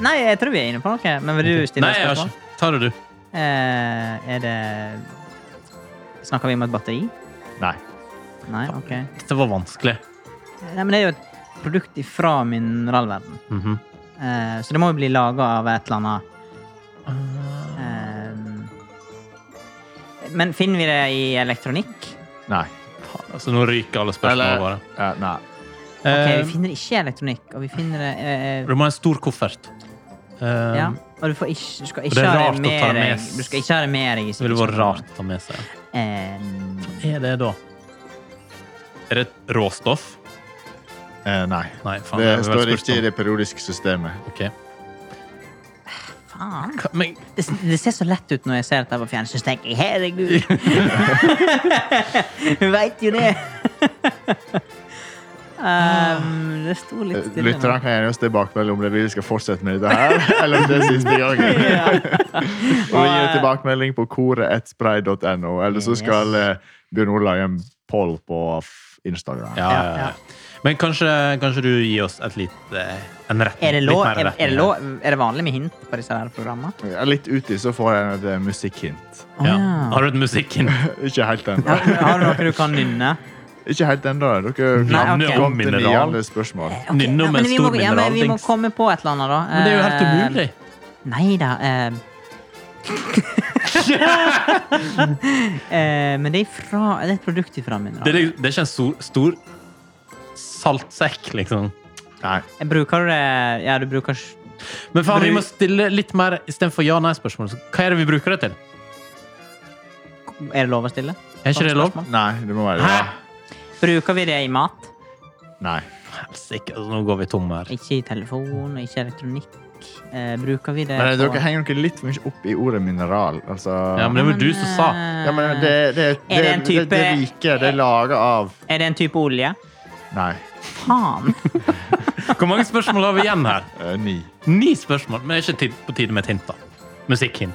B: Nei, jeg tror vi er inne på noe. Men vil du stille
C: Nei, jeg har
B: spørsmål?
C: ikke. Ta det, du.
B: Eh, er det Snakker vi om et batteri?
A: Nei.
B: Nei, OK. Nei,
C: Dette var vanskelig.
B: men det er jo et produkt ifra mineralverden.
C: Mhm.
B: Eh, så det må jo bli laga av et eller annet Ehm, Men finner vi det i elektronikk?
A: Nei.
C: Altså, nå ryker alle spørsmålene våre.
A: ja, nei.
B: Ok,
C: Eh,
B: vi finner det ikke i elektronikk, og vi finner det eh,
C: du må ha en stor koffert. Eh,
B: eh, Ja. Og du, får ikke, du skal
C: det
B: ikke
C: er
B: ha
C: rart å
B: det
C: ta
B: med
C: det med
B: deg. Du skal ikke ha det med deg. i
C: Det ville vært
B: sikkerhetskontrollen.
C: rart å ta med seg.
B: Ehm,
C: Er det da? Er det et råstoff?
A: Eh, nei.
C: Nei, faen.
A: Det
C: jeg har
A: står
C: vel spurt
A: ikke i
C: om-
A: det periodiske systemet.
C: Ok.
B: faen.
C: Hva- Men
B: Det, det ser så lett ut når jeg ser dette på fjernsyn, så tenker jeg herregud. Du veit jo det. Ehm, det sto litt
A: Eh,
B: stille. nå.
A: Lytterne kan gjerne gjøre oss tilbakemelding om det vi skal fortsette med dette her, eller om det er siste gangen.
B: Ja.
A: Og gi en tilbakemelding på koret1spray.no, eller så skal eh, Bjørn Olav lage en poll på f- Instagram.
C: ja, ja,
B: Ja,
C: ja.
B: ja.
C: Men kanskje, kanskje du gir oss et lite en rett,
B: Er det,
C: litt
B: lov,
C: mer
B: er,
C: retning
B: er, det
C: her.
B: lov, er det vanlig med hint på disse her programmene?
A: Ja, Litt uti så får jeg et eh, musikkhint.
B: Å,
C: Ja.
B: ja.
C: Har du et musikken?
A: Ikke helt ennå.
B: Har, har du noe du kan nynne?
A: Ikke helt ennå. Dere
B: Nei,
A: kan
B: ok.
A: komme til
C: Mineral.
A: niende spørsmål.
B: Ok,
C: Nynne om
B: ja, men
C: en
B: vi må- ja, men Vi
C: stor
B: må
C: mineraldings.
B: komme på et eller annet, da.
C: Men det er jo helt
B: Eh,
C: umulig.
B: Nei da. eh. Eh, men det er, fra, det er et produkt ifra
C: Det er,
B: mineral.
C: det er ikke en stor, stor saltsekk, liksom.
A: Nei.
B: Bruker du det Ja, du bruker s-
C: Men faen, vi
B: Bru-
C: må stille litt mer istedenfor ja-nei-spørsmål. Hva er det vi bruker det til?
B: Er det lov å stille?
C: Er ikke det lov?
B: Spørsmål?
A: Nei, det må være
C: Hæ?
A: ja.
B: Bruker vi det i mat?
A: Nei.
C: Helsike, altså, nå går vi tom her.
B: Ikke i telefon, ikke i elektronikk. Eh, bruker vi det
A: Men eh,
B: på-
A: dere henger dere litt for mye opp i ordet mineral. Altså
C: Ja, men det var du som sa.
B: eh,
A: Ja, men det, det, det,
B: Er det en
A: det, det,
B: type-
A: rike, det er laga av
B: Eh, Er det en type olje?
A: Nei,
B: Faen!
C: Hvor mange spørsmål har vi igjen her?
A: eh, ni.
C: Ni spørsmål. Men det er ikke tid, på tide med et hint, da. Musikkhint.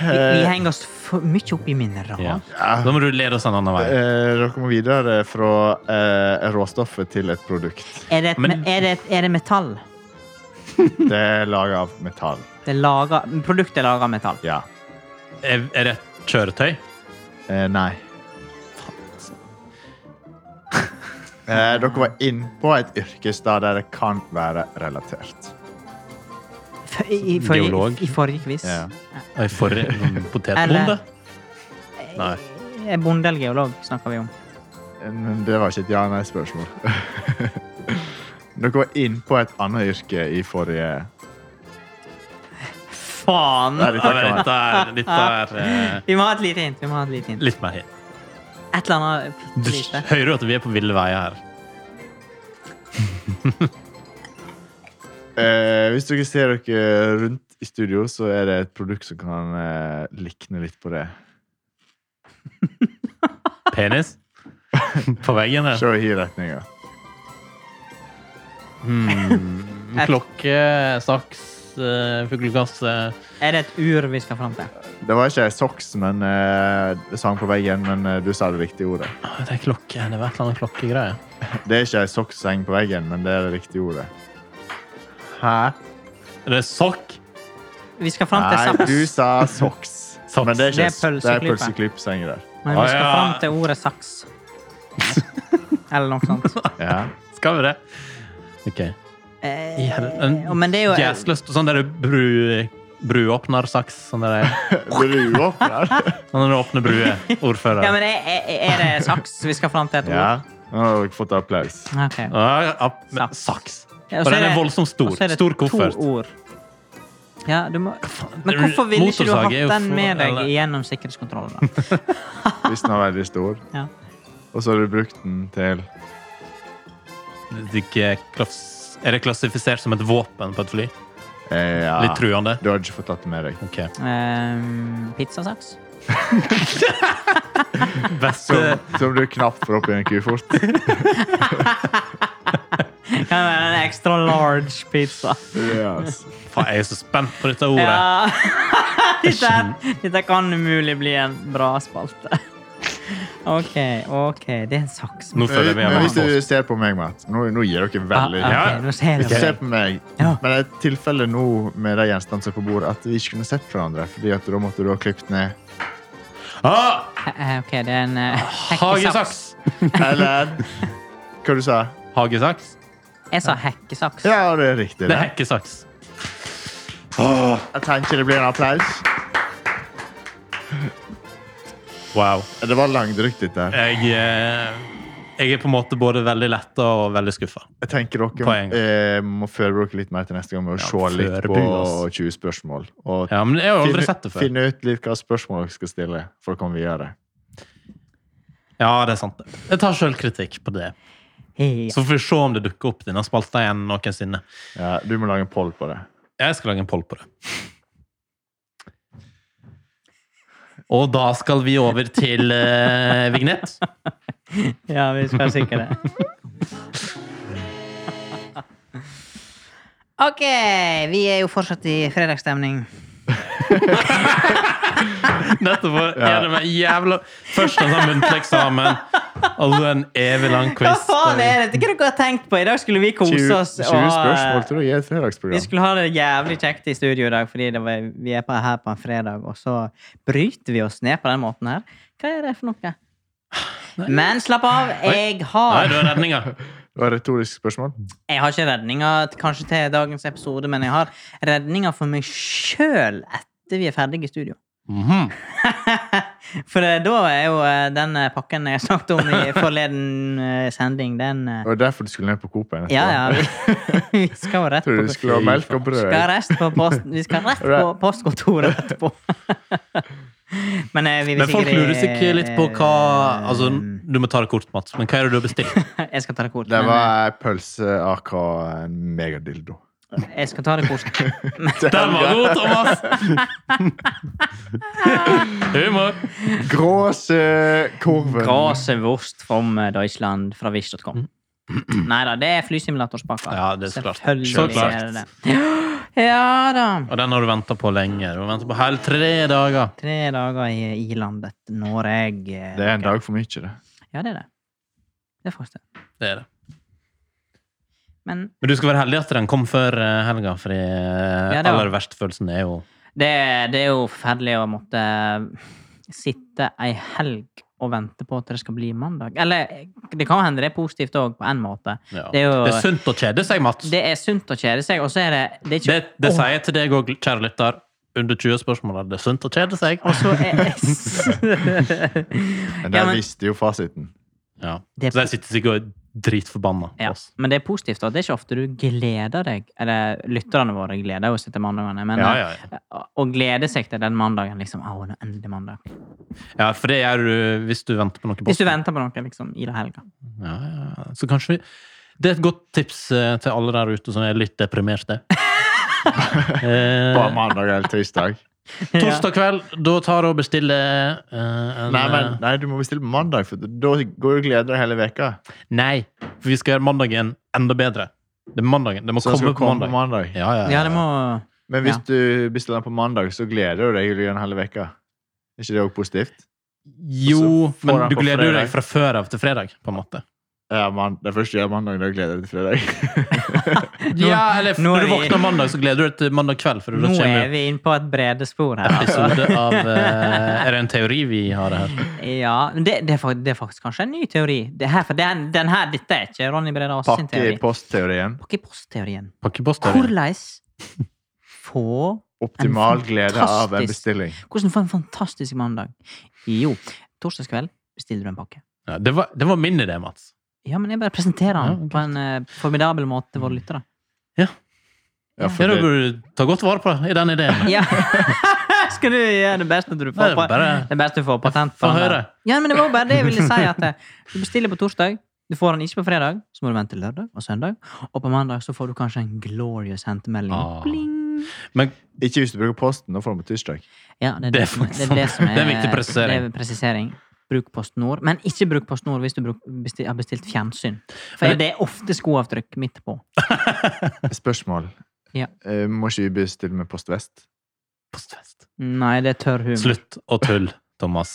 B: Vi, vi henger oss for mye opp i minner.
C: Eh. Ja.
A: Ja.
C: Da må du lede oss en annen vei.
A: Eh, dere må videre fra eh, råstoffet til et produkt.
B: Er, det et,
C: Men-
B: er, det et, er det metall?
A: Det er laget av metall.
B: Det er laga, produktet er laga av metall.
A: Ja.
C: Er, er det et kjøretøy?
A: Eh, nei. altså. Eh, dere var inn på et yrkesstad der det kan være relatert.
B: F- I, i, forrige-
C: Geolog?
B: I forrige quiz.
A: Ja.
C: Ei forrige sånn potetbonde?
B: Eller-
C: Nei.
B: Eh, Bonde eller geolog snakker vi om.
A: Eh, Men det var ikke et ja-nei-spørsmål. dere var inn på et annet yrke i forrige
B: Faen!
A: Nei, dette
C: Ja,
A: kan
C: men
A: være-
C: Dette er, dette er eh,
B: Vi må ha et lite hint. vi må ha et lite hint.
C: litt mer hit.
B: Et eller annet
C: Du
B: bitte lite.
C: hører jo at vi er på ville veier her.
A: Eh, hvis dere ser dere rundt i studio, så er det et produkt som kan eh, likne litt på det.
C: Penis? På veggen her.
A: Se i retninga.
C: Hmm. Klokke, saks, eh, fuglekasse
B: Er det et ur vi skal fram til?
A: Det var ikke socks, men eh, det sang på veggen, men eh, du sa det riktige ordet.
C: Å, Det er klokke. Det var et eller annet klokkegreie.
A: Det er ikke ei sokkseng på veggen, men det er det riktige ordet. Hæ?
C: Er det sokk?
B: Vi skal fram til
A: Nei,
B: saps.
A: du sa socks.
C: Socks.
A: Men det er ikke
B: Det er
A: det er
B: pølseklype.
A: pølseklypsenger der.
B: Men
C: Å,
B: vi skal
C: ja.
B: fram til ordet saks. Eller noe sånt.
A: Ja.
C: Skal vi det? OK. I
B: Eh,
C: hel-
B: men det er jo
C: Jæsløst. Sånn der bru, bruåpnersaks. Sånn der,
A: Bruåpner.
C: sånn der åpne brue. Ordfører.
B: ja, men er, er, er det saks vi skal fram til et
A: Ja.
B: ord?
A: Nå har dere fått applaus.
B: Ok.
C: Ja, ja, men,
B: Saks.
C: saks.
B: Ja,
C: Og
B: så
C: den
B: det-
C: er voldsomt stor.
B: og så er det
C: Stor koffert.
B: To ord. Ja, du må, men hvorfor ville ikke du
C: Motorsag
B: hatt
C: er jo
B: den
C: for-
B: med deg
C: eller-
B: gjennom sikkerhetskontrollen? da?
A: Hvis den er veldig stor.
B: Ja.
A: Og så har du brukt den til
C: Det er ikke klass- Er det klassifisert som et våpen på et fly?
A: eh, ja.
C: Litt truende?
A: Du har ikke fått tatt det med deg.
C: Ok.
B: Ehm, pizzasaks?
C: Beste
A: Som, som du knapt får opp i en kufort.
B: Kan være en extra large pizza.
A: Yes.
C: Faen, jeg er så spent på dette ordet.
B: Ja. Dette, her- dette kan umulig bli en bra spalte. OK, OK. Det er en saks.
C: Nå føler jeg vi
A: Men hvis du
C: er
A: ser på meg, Matt Nå, nå gir dere veldig
B: Ah,
C: Ja.
B: ok, nå ser jeg
A: Ikke se
B: det.
A: på meg.
B: Ja.
A: Men det er et tilfelle nå med de gjenstandene som er på bordet, at vi ikke kunne sett hverandre. Fordi at da måtte du ha klippet ned.
C: ah,
B: Eh, OK, det er en eh, hekkesaks.
C: Hagesaks!
A: Eller hva du sa
C: Hagesaks?
B: Jeg sa hekkesaks.
A: Ja, det er riktig.
C: Det er
A: Det.
C: hekkesaks.
A: Jeg tenker det blir en applaus.
C: Wow.
A: Det var langdrygt, dette her.
C: Jeg, eh, jeg er på en måte både veldig letta og veldig skuffa.
A: Jeg tenker dere
C: Poeng.
A: eh, må forberede dere litt mer til neste gang med å
C: Ja,
A: se litt på
C: forbered oss.
A: 20 spørsmål. Og
C: Ja, men jeg har jo aldri
A: finne,
C: sett det før.
A: finne ut litt hva spørsmål dere skal stille for å komme videre.
C: Ja, det er sant. det. Jeg tar sjølkritikk på det.
B: Hei.
C: Så får vi se om det dukker opp denne spalta igjen noensinne.
A: Ja, du må lage en poll på det.
C: Jeg skal lage en poll på det. Og da skal vi over til eh, vignett.
B: Ja, vi skal sikre det. OK, vi er jo fortsatt i fredagsstemning.
C: Dette var gjennom en jævla Først en sånn muntlig eksamen, og så en evig lang
B: Hva
C: quiz.
B: faen er dette? Hva dere har tenkt på? I dag skulle vi
A: 20,
B: kose oss.
A: 20
B: og- eh,
C: eh,
A: spørsmål til å gi et
B: Vi
A: fredagsprogram.
B: skulle ha det jævlig kjekt i studio i dag, fordi det var, vi er på, her på en fredag, og så bryter vi oss ned på den måten her. Hva er det for noe? Men slapp av, jeg
C: Nei,
B: har
C: du er redninga.
A: Det var et retorisk spørsmål.
B: Jeg har ikke redninga t- kanskje til dagens episode, men jeg har redninga for meg sjøl etter vi er ferdige i studio.
C: Mhm.
B: For eh, da er jo eh, den eh, pakken jeg snakket om i forleden eh, sending, den eh,
A: Det var derfor du skulle ned på Coop igjen.
B: Ja, ja, vi, vi skal jo rett
A: Tror
B: på
A: du du skulle ha melk og brød?
B: skal rest på post, Vi skal rett på postkontoret etterpå. Men, eh, vi vil
C: Men folk
B: sikkert- eh,
C: lurer sikkert litt på hva Altså, Du må ta det kort, Mats, men hva er det du har bestilt?
B: Jeg skal ta det kort.
A: Det
B: men,
A: var ei pølse AK en megadildo.
B: eh, Jeg skal ta det kort.
C: Den var god, Thomas! Humor.
A: Gråsekorven.
B: Grasevorst from eh, Deutschland fra wish.com. Nei da, det er flysimulatorspakker.
C: Ja, det er så klart.
B: Selvfølgelig
C: Så klart.
B: er det det. Ja da.
C: Og den har du venta på lenge. Du har venta på hele tre dager.
B: Tre dager i, i landet Norge. eh,
A: Det er en dag for mye, det.
B: Ja, det er det. Det er faktisk det.
C: Det er det.
B: Men
C: Men du skal være heldig at den kom før eh, helga, for
B: Ja, det var-
C: aller verst følelsen er jo
B: det, det er jo forferdelig å måtte sitte ei helg og vente på at det skal bli mandag. Eller det kan hende det er positivt òg, på en måte.
C: ja.
B: Det er jo-
C: sunt å kjede seg, Mats.
B: Det er sunt å kjede seg, og så er det, det er ikke,
C: Det, det
B: Åh.
C: sier jeg til deg òg, kjære lytter. Under 20-spørsmålet det er sunt å kjede seg.
B: Og så er
A: Men
B: Ja,
A: der
B: men-
A: visste jo fasiten.
C: Ja.
B: Det-
C: Så jeg sitter sikkert og er dritforbanna. på
B: ja,
C: oss.
B: Men det er positivt, og det er ikke ofte du gleder deg Eller lytterne våre gleder jo seg til mandagene, men
C: Ja, ja, ja.
B: eh, å glede seg til den mandagen, liksom Å, nå er endelig mandag.
C: ja, for det gjør du hvis du venter på noe.
B: Hvis du
C: post.
B: venter på noe liksom, i det helga.
C: Ja, ja. ja. Så kanskje vi Det er et godt tips eh, til alle der ute som er litt deprimerte.
A: På
C: eh,
A: mandag eller tirsdag.
C: torsdag kveld, da tar du og bestiller eh, en, eh,
A: Nei, men, nei, du må bestille på mandag, for da går du og gleder deg hele veka.
C: Nei, for vi skal gjøre mandagen enda bedre. Det er mandagen. Det må
A: Så den skal
C: komme på
A: komme
C: mandag.
A: på mandag.
C: Ja, ja,
B: Ja, det må
A: Men hvis du bestiller den på mandag, så gleder du deg gjennom hele veka. Er ikke det òg positivt?
C: Jo,
A: Og så får
C: men
A: han
C: du
A: på
C: gleder jo deg
A: fredag.
C: fra før av til fredag, på en måte.
A: Ja, man, det første jeg gjør mandag, da gleder jeg meg til fredag.
B: Nå-
C: ja, eller
B: nå er
C: når du
B: vi-
C: våkner mandag, så gleder du deg til mandag kveld. For da
B: Nå er
C: kommer
B: vi inne på et brede spor her. altså.
C: episode av eh, Er det en teori vi har her?
B: Ja, men det, det, er faktisk, det er faktisk kanskje en ny teori. Det her, for den, den her, dette er ikke Ronny Brede Aas sin
A: Pakke i
B: teori.
A: postteorien.
B: Pakke i post-teorien.
C: Pakkepost-teori.
B: Hvordan få
A: Optimal
B: En
A: glede av en
B: fantastisk-
A: bestilling.
B: Hvordan få en fantastisk mandag? Jo, torsdag kveld bestiller du en pakke.
C: Ja, det, var- det var min idé, Mats.
B: Ja, men jeg bare presenterer den
C: Ja, ok.
B: på en eh, formidabel måte for våre lyttere.
A: Ja,
C: Ja,
A: for
C: da
A: det,
C: burde du ta godt vare på i den ideen.
B: Ja. Skal du gjøre det beste du
C: Nei,
B: får på
C: bare-
B: Det beste du får patent på
C: Få
B: den der.
C: høre.
B: Ja, men det var jo bare det jeg ville si. at eh, Du bestiller på torsdag, du får den ikke på fredag, så må du vente lørdag og søndag, og på mandag så får du kanskje en glorious hentemelding.
C: Ah.
B: Bling!
C: Men
A: ikke hvis du bruker posten, da får du på tirsdag.
B: Ja, det er
C: Det
B: det,
C: er
B: som, det,
C: faktisk
B: er det som er
C: Det er en viktig presisering.
B: det er presisering. Bruk PostNord, men ikke bruk PostNord hvis du bruk, besti- har bestilt fjernsyn. For
C: Men-
B: det er ofte skoavtrykk midt på.
A: Spørsmål.
B: Ja.
A: Eh, må ikke vi bestille med Post Vest?
C: postfest.
B: Nei, det er tørr humor.
C: Slutt å tulle, Thomas.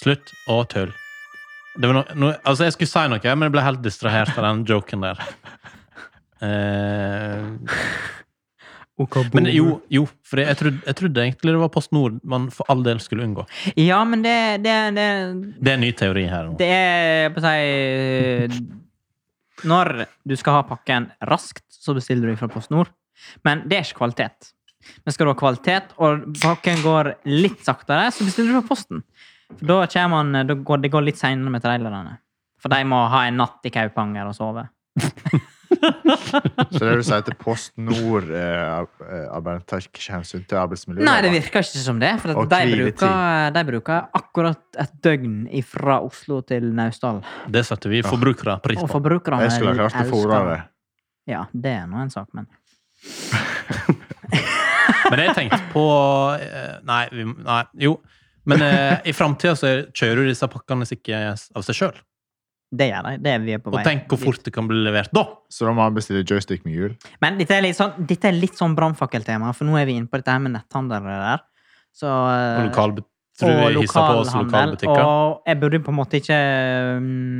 C: Slutt å tulle. Det var no, no, altså, jeg skulle si noe, men jeg ble helt distrahert av den joken der. Eh, men jo, jo for jeg trodde, jeg trodde egentlig det var Post Nord man for all del skulle unngå.
B: Ja, men det, det, det,
C: Det er en ny teori her nå.
B: det er jeg på å si Når du skal ha pakken raskt, så bestiller du fra PostNord. Men det er ikke kvalitet. Men skal du ha kvalitet, og pakken går litt saktere, så bestiller du fra Posten. For da, kommer han, da går det går litt seinere med trailerne. For de må ha en natt i Kaupanger og sove.
A: Så det du sier til Post Nord eh, ar- eh, arbeid- tar ikke hensyn til arbeidsmiljøet?
B: Nei, det
A: da?
B: virker ikke som det. For
A: Og
B: at de,
A: hviletid.
B: bruker, de bruker akkurat et døgn fra Oslo til Naustdal.
C: Det setter vi forbrukere pris
B: Og
C: på.
B: forbrukerne
A: Jeg skulle ha klart å fôre
B: elsker
A: det.
B: Ja, det er nå en sak, men
C: Men jeg tenkte på eh, Nei, vi, nei jo. Men eh, i framtida så er- kjører jo disse pakkene sikkert av seg sjøl.
B: det gjør de. Det er vi er på
C: Og
B: vei.
C: tenk hvor fort det kan bli levert da!
A: Så da må han bestille joystick med hjul.
B: Men dette er litt sånn, dette er litt sånn brannfakkeltema, for nå er vi inne på dette her med netthandel. og det der. Så,
C: Og
B: eh,
C: lokal, tror
B: og
C: jeg hisser på oss
B: lokalhandel,
C: lokalbutikker.
B: Og jeg burde på en måte ikke mm,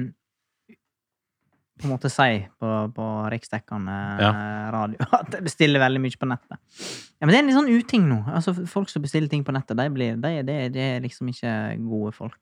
B: på en måte si på, på riksdekkende
C: Ja.
B: eh, radio at jeg bestiller veldig mye på nettet. Ja, men det er en litt sånn uting nå. Altså, folk som bestiller ting på nettet, de, blir, de, de, de er liksom ikke gode folk.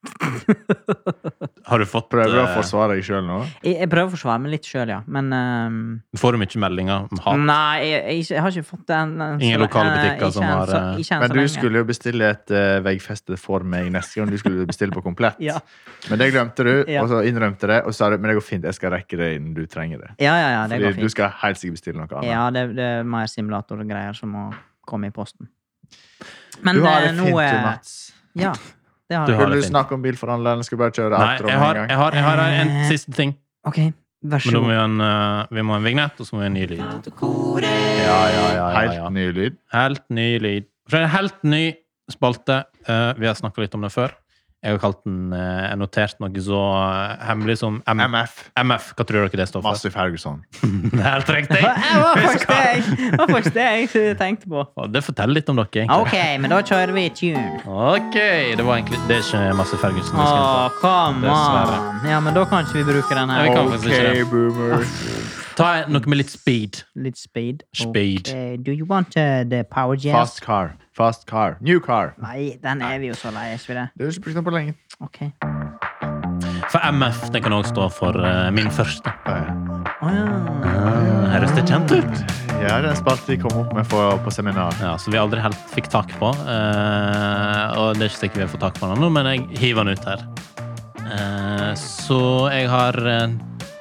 C: Har du fått
A: Prøver du å
C: eh,
A: forsvare deg sjøl nå?
B: Jeg, jeg prøver å forsvare meg litt sjøl, ja. Men ehm,
C: Får du mye meldinger om hat?
B: Nei, jeg, jeg, ikke- jeg har ikke fått den. den
C: Ingen lokale butikker som har, eh,
A: Men du skulle jo bestille et eh, veggfeste for meg neste gang du skulle bestille på komplett.
B: Ja.
A: Men det glemte du,
B: Ja.
A: og så innrømte det, og så sa du men det går fint, jeg skal rekke det innen du trenger det.
B: Ja, ja, ja, det går
A: Fordi du
B: fint.
A: skal helt sikkert bestille noe annet.
B: Ja, det, det er mer simulatorgreier som må komme i posten. Men
A: du har
B: eh,
A: det
B: nå
A: fint,
B: eh,
A: du, Mats.
B: Ja, det har
C: Du
B: jeg.
C: har-
A: Vil
C: det
A: du
C: fint.
A: snakke om bilforhandler, eller skal du bare kjøre
C: Nei,
A: outroen
C: jeg har,
A: med en
C: jeg
A: gang?
C: har, jeg har en siste ting.
B: OK, vær så
C: Men da må
B: god.
C: vi ha en, eh, vi må ha en vignett, og så må vi ha en ny lyd. Ja, ja, ja, ja, ja.
A: Helt ny lyd.
C: Helt ny lyd. For det er en helt ny spalte. Eh, vi har snakka litt om det før. Jeg har kalt den eh, jeg notert noe så eh, hemmelig som M
A: MF.
C: MF. Hva tror dere det står for?
A: Massive Ferguson.
C: det her trengte
B: Det
C: jeg!
B: Eh, var faktisk det jeg- det var faktisk det jeg tenkte på.
C: Og Det forteller litt om dere, egentlig.
B: OK, men da kjører vi tune.
C: Ok, Det var egentlig Det er ikke masse Ferguson. det skal jeg
B: Å, come on.
C: Dessverre.
B: Ja, men da kan ikke vi bruke den
C: Ja, vi kan.
B: her.
C: faktisk ikke det. Ah,
A: boomer.
C: ta. Ta en- noe med litt speed.
B: Litt speed.
C: Speed.
B: Ok, Do you want uh, the power jazz?
A: Fast car. Fast car. New car.
B: Nei, den er vi jo så lei, er ikke vi det?
A: Det har du ikke brukt den på lenge.
B: Ok.
C: For MF det kan også stå for eh, min første.
A: Ja,
B: Å ja.
C: Ah, Høres det kjent ut?
A: det er en spalte vi kom opp med på, på seminar.
C: Ja, Som vi aldri helt fikk tak på. eh, og det er ikke sikkert vi har fått tak på den ennå, men jeg hiver den ut her. Eh, så jeg har eh,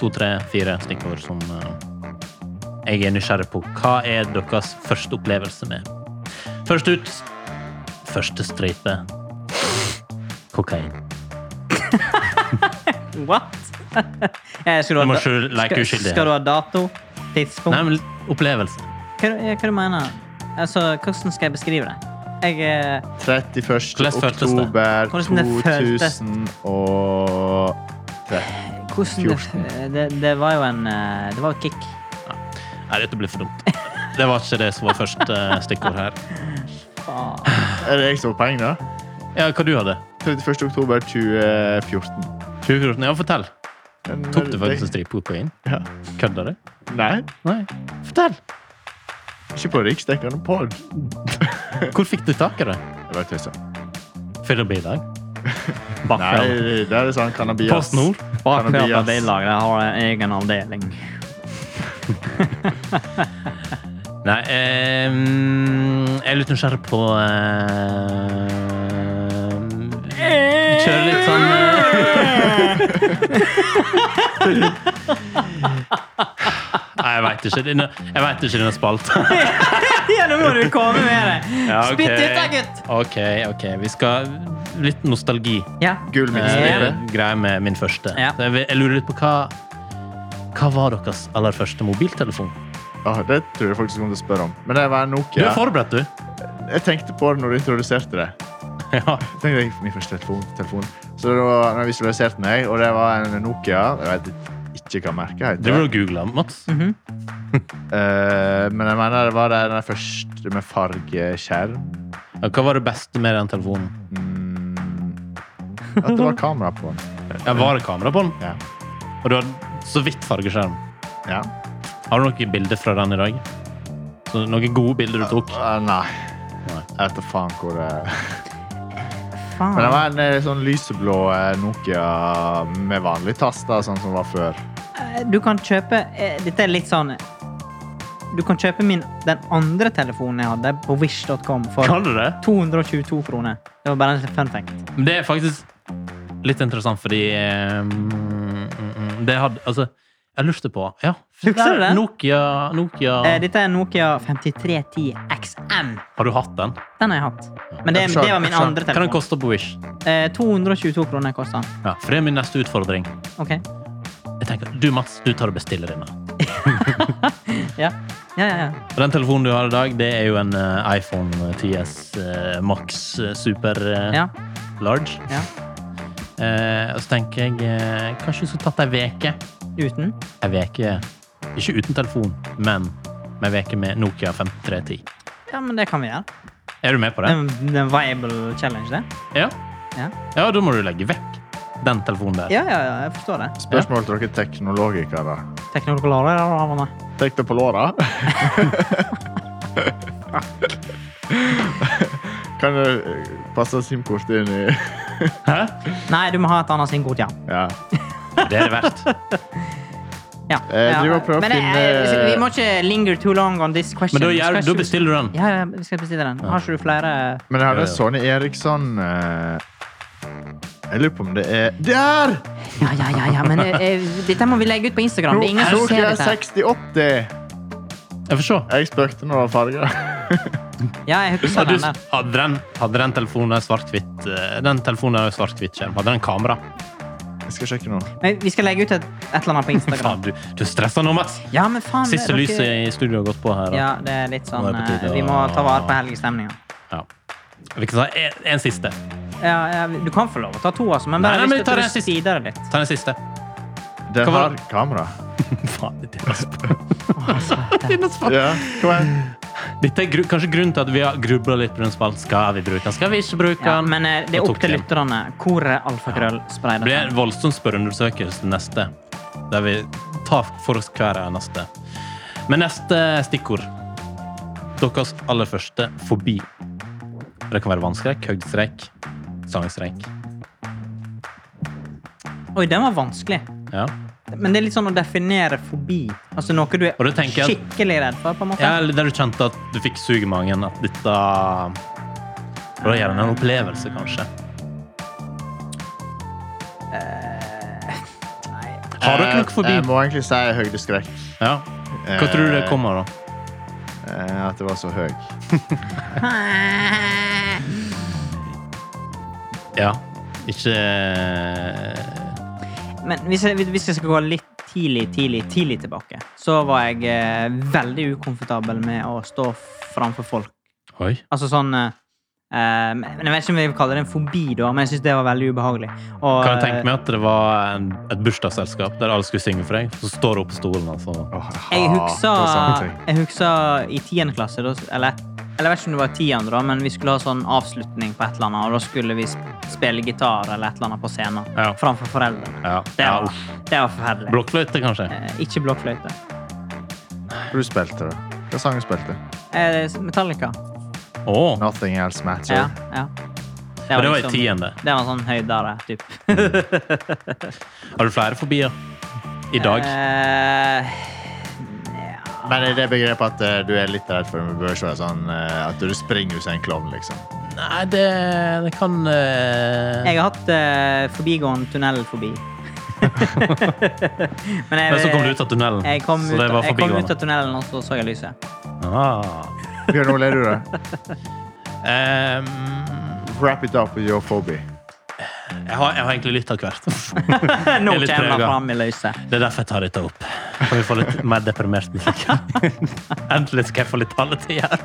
C: to, tre, fire stikkord som eh, jeg er nysgjerrig på. Hva er deres første opplevelse med? Først ut første stripe kokain.
B: What? Eh, skal, du ha
C: Du må
B: da-
C: ikke leke
B: skal,
C: uskyldig her.
B: skal du ha dato? Tidspunkt?
C: Nei, men opplevelse.
B: Hva, ja, hva du mener Altså, hvordan skal jeg beskrive det? Jeg eh,
A: 31.
C: Hvordan føltes det?
A: oktober
B: Hvordan det føltes?
A: 2013.
B: Hvordan
A: 14.
B: det, det, det var jo en eh, Det var jo kick.
C: Nei, dette blir for dumt. Det var ikke det som var første eh, stikkord her.
B: Faen.
A: Er det jeg som har poeng, da?
C: Ja, hva du hadde?
A: 31. oktober 2014.
C: 2014? Ja, fortell.
A: Men
C: Tok du
A: det-
C: faktisk en stripe kokain?
A: Ja.
C: Kødda du?
A: Nei,
C: Nei. Fortell!
A: ikke på riksdekkende pod.
C: Hvor fikk du tak i det?
A: Jeg bare tøyser.
C: Fyllebilag?
A: Nei,
C: Bakfjell?
A: det er sånn cannabias.
C: Post Nord?
A: Cannabias.
B: har en egen avdeling.
C: Nei, eh, mm, jeg er litt nysgjerrig på eh, Kjøre litt sånn eh. Nei, jeg veit ikke. Denne, jeg vet ikke denne spalten.
B: ja, nå må du komme med det!
C: Ja, ok.
B: Spytt ut da, gutt!
C: OK, ok. Vi skal Litt nostalgi.
B: Ja.
A: Gullmiddelstripe.
C: Eh, Greia med min første.
B: Ja.
C: Så Jeg, vil- jeg lurer litt på hva Hva var deres aller første mobiltelefon?
A: Åh, det tror jeg faktisk kommer til å spørre om. Men det var
C: Du
A: Nokia.
C: er forberedt, du.
A: Jeg tenkte på det når du introduserte det.
C: Ja.
A: Jeg tenkte jeg min første telefon, telefon. Så det var når jeg visualiserte meg, og det var en Nokia. Jeg vet ikke hva merket
C: Driver du
A: heter.
C: og googler, Mats?
B: Mhm.
A: Eh, men jeg mener det var den der første med fargeskjerm.
C: Ja, Hva var det beste med den telefonen?
A: Mm. At det var kamera på den.
C: Ja, var det kamera på den?
A: Ja.
C: Og du hadde så vidt fargeskjerm.
A: ja.
C: Har du noen bilder fra den i dag? Så noen gode bilder du tok?
A: Eh, nei.
C: Nei.
A: Jeg vet da faen hvor det
B: Faen.
A: Men det var en eh, sånn lyseblå eh, Nokia med vanlig tast, da, sånn som var før.
B: Eh, Du kan kjøpe eh, Dette er litt sånn Du kan kjøpe min, den andre telefonen jeg hadde, på wish.com for
C: Kan du det?
B: 222 kroner. Det var bare en fun fact.
C: Men Det er faktisk litt interessant, fordi eh, mm, mm, mm, Det hadde Altså, jeg lurte på Ja.
B: Husker du det?
C: Nokia, Nokia
B: Eh, Dette er Nokia 5310 XM.
C: Har du hatt den?
B: Den har jeg hatt. Men det,
A: Jeg forstår,
B: det var min
A: jeg forstår.
B: andre
C: Hva den
B: telefon.
C: koste på Wish?
B: Eh, 222 kroner kosta den.
C: Ja, for det er min neste utfordring.
B: Ok.
C: Jeg tenker, Du Mats, du tar og bestiller denne.
B: Ja. Ja, ja, ja.
C: Og Den telefonen du har i dag, det er jo en eh, iPhone 10S eh, Max eh, Super eh,
B: ja,
C: Large.
B: ja.
C: Eh, og så tenker jeg eh, kanskje du skulle tatt ei veke.
B: Uten.
C: Ei veke, ikke uten telefon, men med ei veke med Nokia 5310.
B: Ja, men det kan vi gjøre.
C: Er du med på
B: Det
C: det?
B: er en- det er en viable challenge, det.
C: Ja?
B: Ja.
C: Ja, da må du legge vekk den telefonen der.
B: Ja, ja, ja, jeg forstår det.
A: Spørsmål til dere teknologikere.
B: Teknologolare, ja, hva med?
A: Tenk deg på låra. kan du eh, passe SIM-kortet inn i
C: Hæ?
B: Nei, du må ha et annet SIM-kort, ja.
A: Ja.
C: Det er det verdt.
B: ja.
A: Eh,
B: ja.
A: driver og prøver å
B: Men eh,
A: finne-
B: vi må ikke linger too long on this question.
C: Men da,
B: Vi skal
C: gjør, da
B: ikke-
C: bestiller du den.
B: Ja, ja, vi skal bestille den. Har ikke du flere
A: Men jeg hadde
C: Ja, ja.
A: Sonny Eriksson eh, Jeg lurer på om det er Der!
B: Ja, ja, ja, ja men eh, eh, dette må vi legge ut på Instagram. Det er ingen som ser
A: Nokia
B: dette.
A: 6080.
C: Jeg får se.
A: Jeg spøkte når det var farger.
B: Ja, jeg husker
C: Hadde,
B: den
C: du,
B: der.
C: hadde, den, hadde den telefonen en svart-hvitt eh, Den telefonen har en svart-hvitt skjerm? Hadde den kamera?
A: Jeg skal sjekke nå.
B: Men vi skal legge ut et, et eller annet på Instagram.
C: Faen, du, du stresser nå, Mats!
B: Ja, men faen
C: Siste
B: dere-
C: lyset i studio har gått på her.
B: Ja,
C: da.
B: det er litt sånn
C: Nå er det på
B: eh,
C: tide
B: Vi må
C: å-
B: ta vare på helgestemninga.
C: Ja. Vi kan ta en, en siste.
B: ja, ja, du kan få lov å ta to, altså, men
C: Nei,
B: bare
C: nei,
B: hvis
C: men vi tar
B: du
C: den siste.
B: speeder det litt.
C: Ta den siste.
A: Den
C: Hva var
A: har
C: det?
A: kamera.
C: Faen, dette er
A: Ja, kom igjen.
C: Dette er gru kanskje grunnen til at vi har grubla litt på den spalten. Skal vi bruke den, skal vi ikke bruke
B: Ja,
C: den?
B: men eh, det er
C: Da
B: opp
C: tok
B: til
C: jeg den.
B: lytterne hvor er alfakrøll
C: Det blir
B: spreider
C: en voldsom spørreundersøkelse neste, der vi tar for oss hver er neste. Men neste stikkord Deres aller første fobi. Det kan være vannskrekk, høydeskrekk, sangskrekk.
B: Oi, den var vanskelig.
C: Ja.
B: Men det er litt sånn å definere fobi. Altså noe du er
C: Og da tenker jeg-
B: skikkelig redd for, på en måte.
C: ja, eller der du kjente at du fikk sug i magen. At dette Og da gjør den en opplevelse, kanskje.
B: Eh, Nei.
C: Har dere noe fobi?
A: Eh, Jeg må egentlig si høydeskrekk.
C: Ja. Hva tror du det kommer av?
A: Eh, At det var så høy.
C: Ja. Ikke
B: Men hvis jeg, hvis jeg skal gå litt tidlig, tidlig, tidlig tilbake, så var jeg eh, veldig ukomfortabel med å stå framfor folk.
C: Oi.
B: Altså sånn eh, eh, men Jeg vet ikke om jeg vil kalle det en fobi, da, men jeg syns det var veldig ubehagelig. Og, eh,
C: Kan jeg tenke meg at det var en, et bursdagsselskap der alle skulle synge for deg? Så står du opp på stolen, altså.
A: Åh,
B: Jeg
A: hater sånne
B: husker,
A: ting.
B: jeg husker i 10. klasse, da, eller, eller jeg vet ikke om det var 10. da, men vi skulle ha sånn avslutning på et eller annet, og da skulle vi sp- spille gitar eller et eller annet på scenen
C: Ja.
B: framfor foreldrene.
C: Ja.
B: Det
C: ja.
B: var, det var forferdelig.
C: Blokkfløyte, kanskje?
B: Eh, Ikke blokkfløyte.
A: Hvor Du spilte det. Hva sang du spilte?
B: Eh, Metallica.
C: Å!
A: Nothing Else Matter.
B: Ja, ja. liksom-
C: Men det var i tiende.
B: Det var sånn høydere, typ.
C: Har du flere fobier i dag?
B: Eh,
A: Men er det begrepet at eh, du er litt redd for det, bør ikke være sånn eh, at du springer hvis du er en klovn, liksom?
C: Nei, det, det kan eh,
B: jeg har hatt eh, forbigående tunnelfobi. Men jeg-
C: Men så kom du ut av tunnelen.
B: eh, Jeg kom,
C: så
B: ut,
C: det var
B: jeg kom ut
C: forbigående.
B: av tunnelen, og så så jeg lyset.
C: Ah.
A: Bjørn Ole, er du det?
C: Ehm,
A: Wrap it up with your phoby.
C: jeg, har, jeg har egentlig litt av hvert.
B: Nå
C: Jeg er litt
B: kommer det
C: prega.
B: fram i lyset.
C: Det er derfor jeg tar dette opp. Kan vi få litt mer deprimert musikk? Endelig skal jeg få litt taletid her.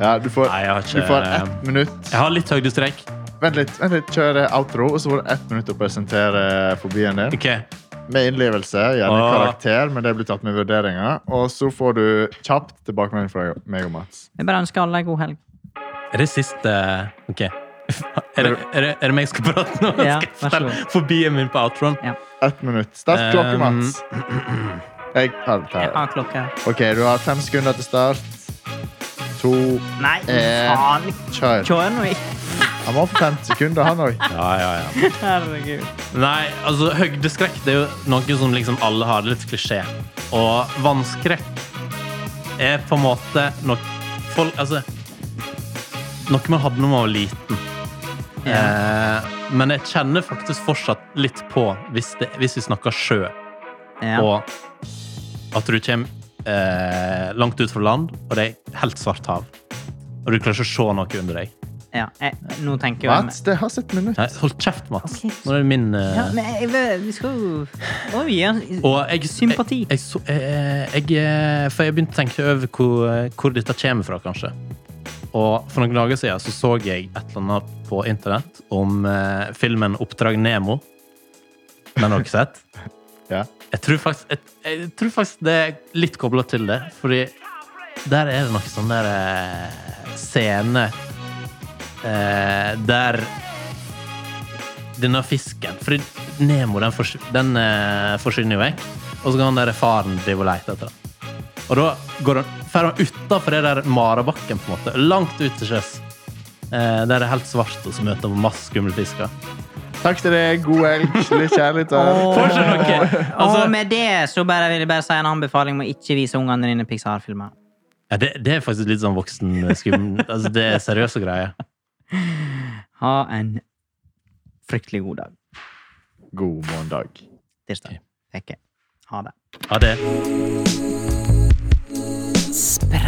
A: Ja, du får,
C: Nei, jeg har ikke-
A: du får ett minutt.
C: Jeg har litt høydestrekk.
A: Vent litt, vent litt, kjøre outro, og så får du ett minutt å presentere fobien din.
C: Ok.
A: Med innlevelse, gjerne
C: Åh.
A: karakter, men det blir tatt med i vurderinga. Og så får du kjapt tilbakemelding fra meg og Mats.
B: Jeg bare ønsker alle en god helg.
C: Er det siste Ok. Er det, er det, er det meg som skal prate nå?
B: Ja,
C: Skal jeg
B: vær så god.
C: fortelle Fobien min på outroen?
B: Ja.
A: Ett minutt. Start klokke,
C: Um,
A: Mats. Jeg har det
B: Jeg
A: her.
B: har klokka.
A: OK, du har fem sekunder til start. To
B: Nei,
A: Eh,
B: faen!
A: Kjør.
B: Kjør nå ikke.
A: Han må få fem sekunder, han òg.
C: Ja, ja, ja.
B: Herregud.
C: Nei, altså, høydeskrekk det er jo noe som liksom alle har. Det er litt klisjé. Og vannskrekk er på en måte noe folk, altså, Noe man hadde når man var liten.
B: Ja.
C: Eh, men jeg kjenner faktisk fortsatt litt på, hvis, det, hvis vi snakker sjø,
B: Ja.
C: og at du kommer eh, langt ut fra land, og det er helt svart hav. Og du klarer ikke å se noe under deg.
B: Ja. Jeg, nå tenker jeg
A: Mats, det har sitt minutt.
C: Nei, hold kjeft, Mats.
B: Ok.
C: Nå er det min eh,
B: Ja, men jeg, jeg, vi skal jo Å, vi gjør
C: og jeg,
B: Sympati.
C: Jeg, jeg, så- eh, jeg, eh, for jeg begynte å tenke over hvor, eh, hvor dette kommer fra, kanskje. Og for noen dager siden så, så jeg et eller annet på internett om eh, filmen 'Oppdrag Nemo'. Den har dere sett?
A: Ja.
C: Jeg tror faktisk, jeg, jeg tror faktisk det er litt kobla til det. Fordi der er det noe sånn der eh, scene eh, der denne fisken Fordi Nemo den, forsv- den eh, forsvinner jo vekk. Og så kan han der faren drive og lete etter den. Og da går han, fer han utafor det der marabakken, på en måte. Langt ut til sjøs. Eh, der det er helt svart, og så møter han masse skumle fisker.
A: Takk til deg. God helg. Litt kjærlighet.
B: Åh.
A: der.
C: Fortsett dere! Altså,
B: Og med det så bare vil jeg bare si en anbefaling om å ikke vise ungene dine Pixar-filmer.
C: ja, det, det er faktisk litt sånn voksen eh, skum... Altså, det er seriøse greier.
B: Ha en fryktelig god dag.
A: God mandag.
B: Tirsdag. Tenker jeg. Ha det.
C: Ha det.
D: Sprei.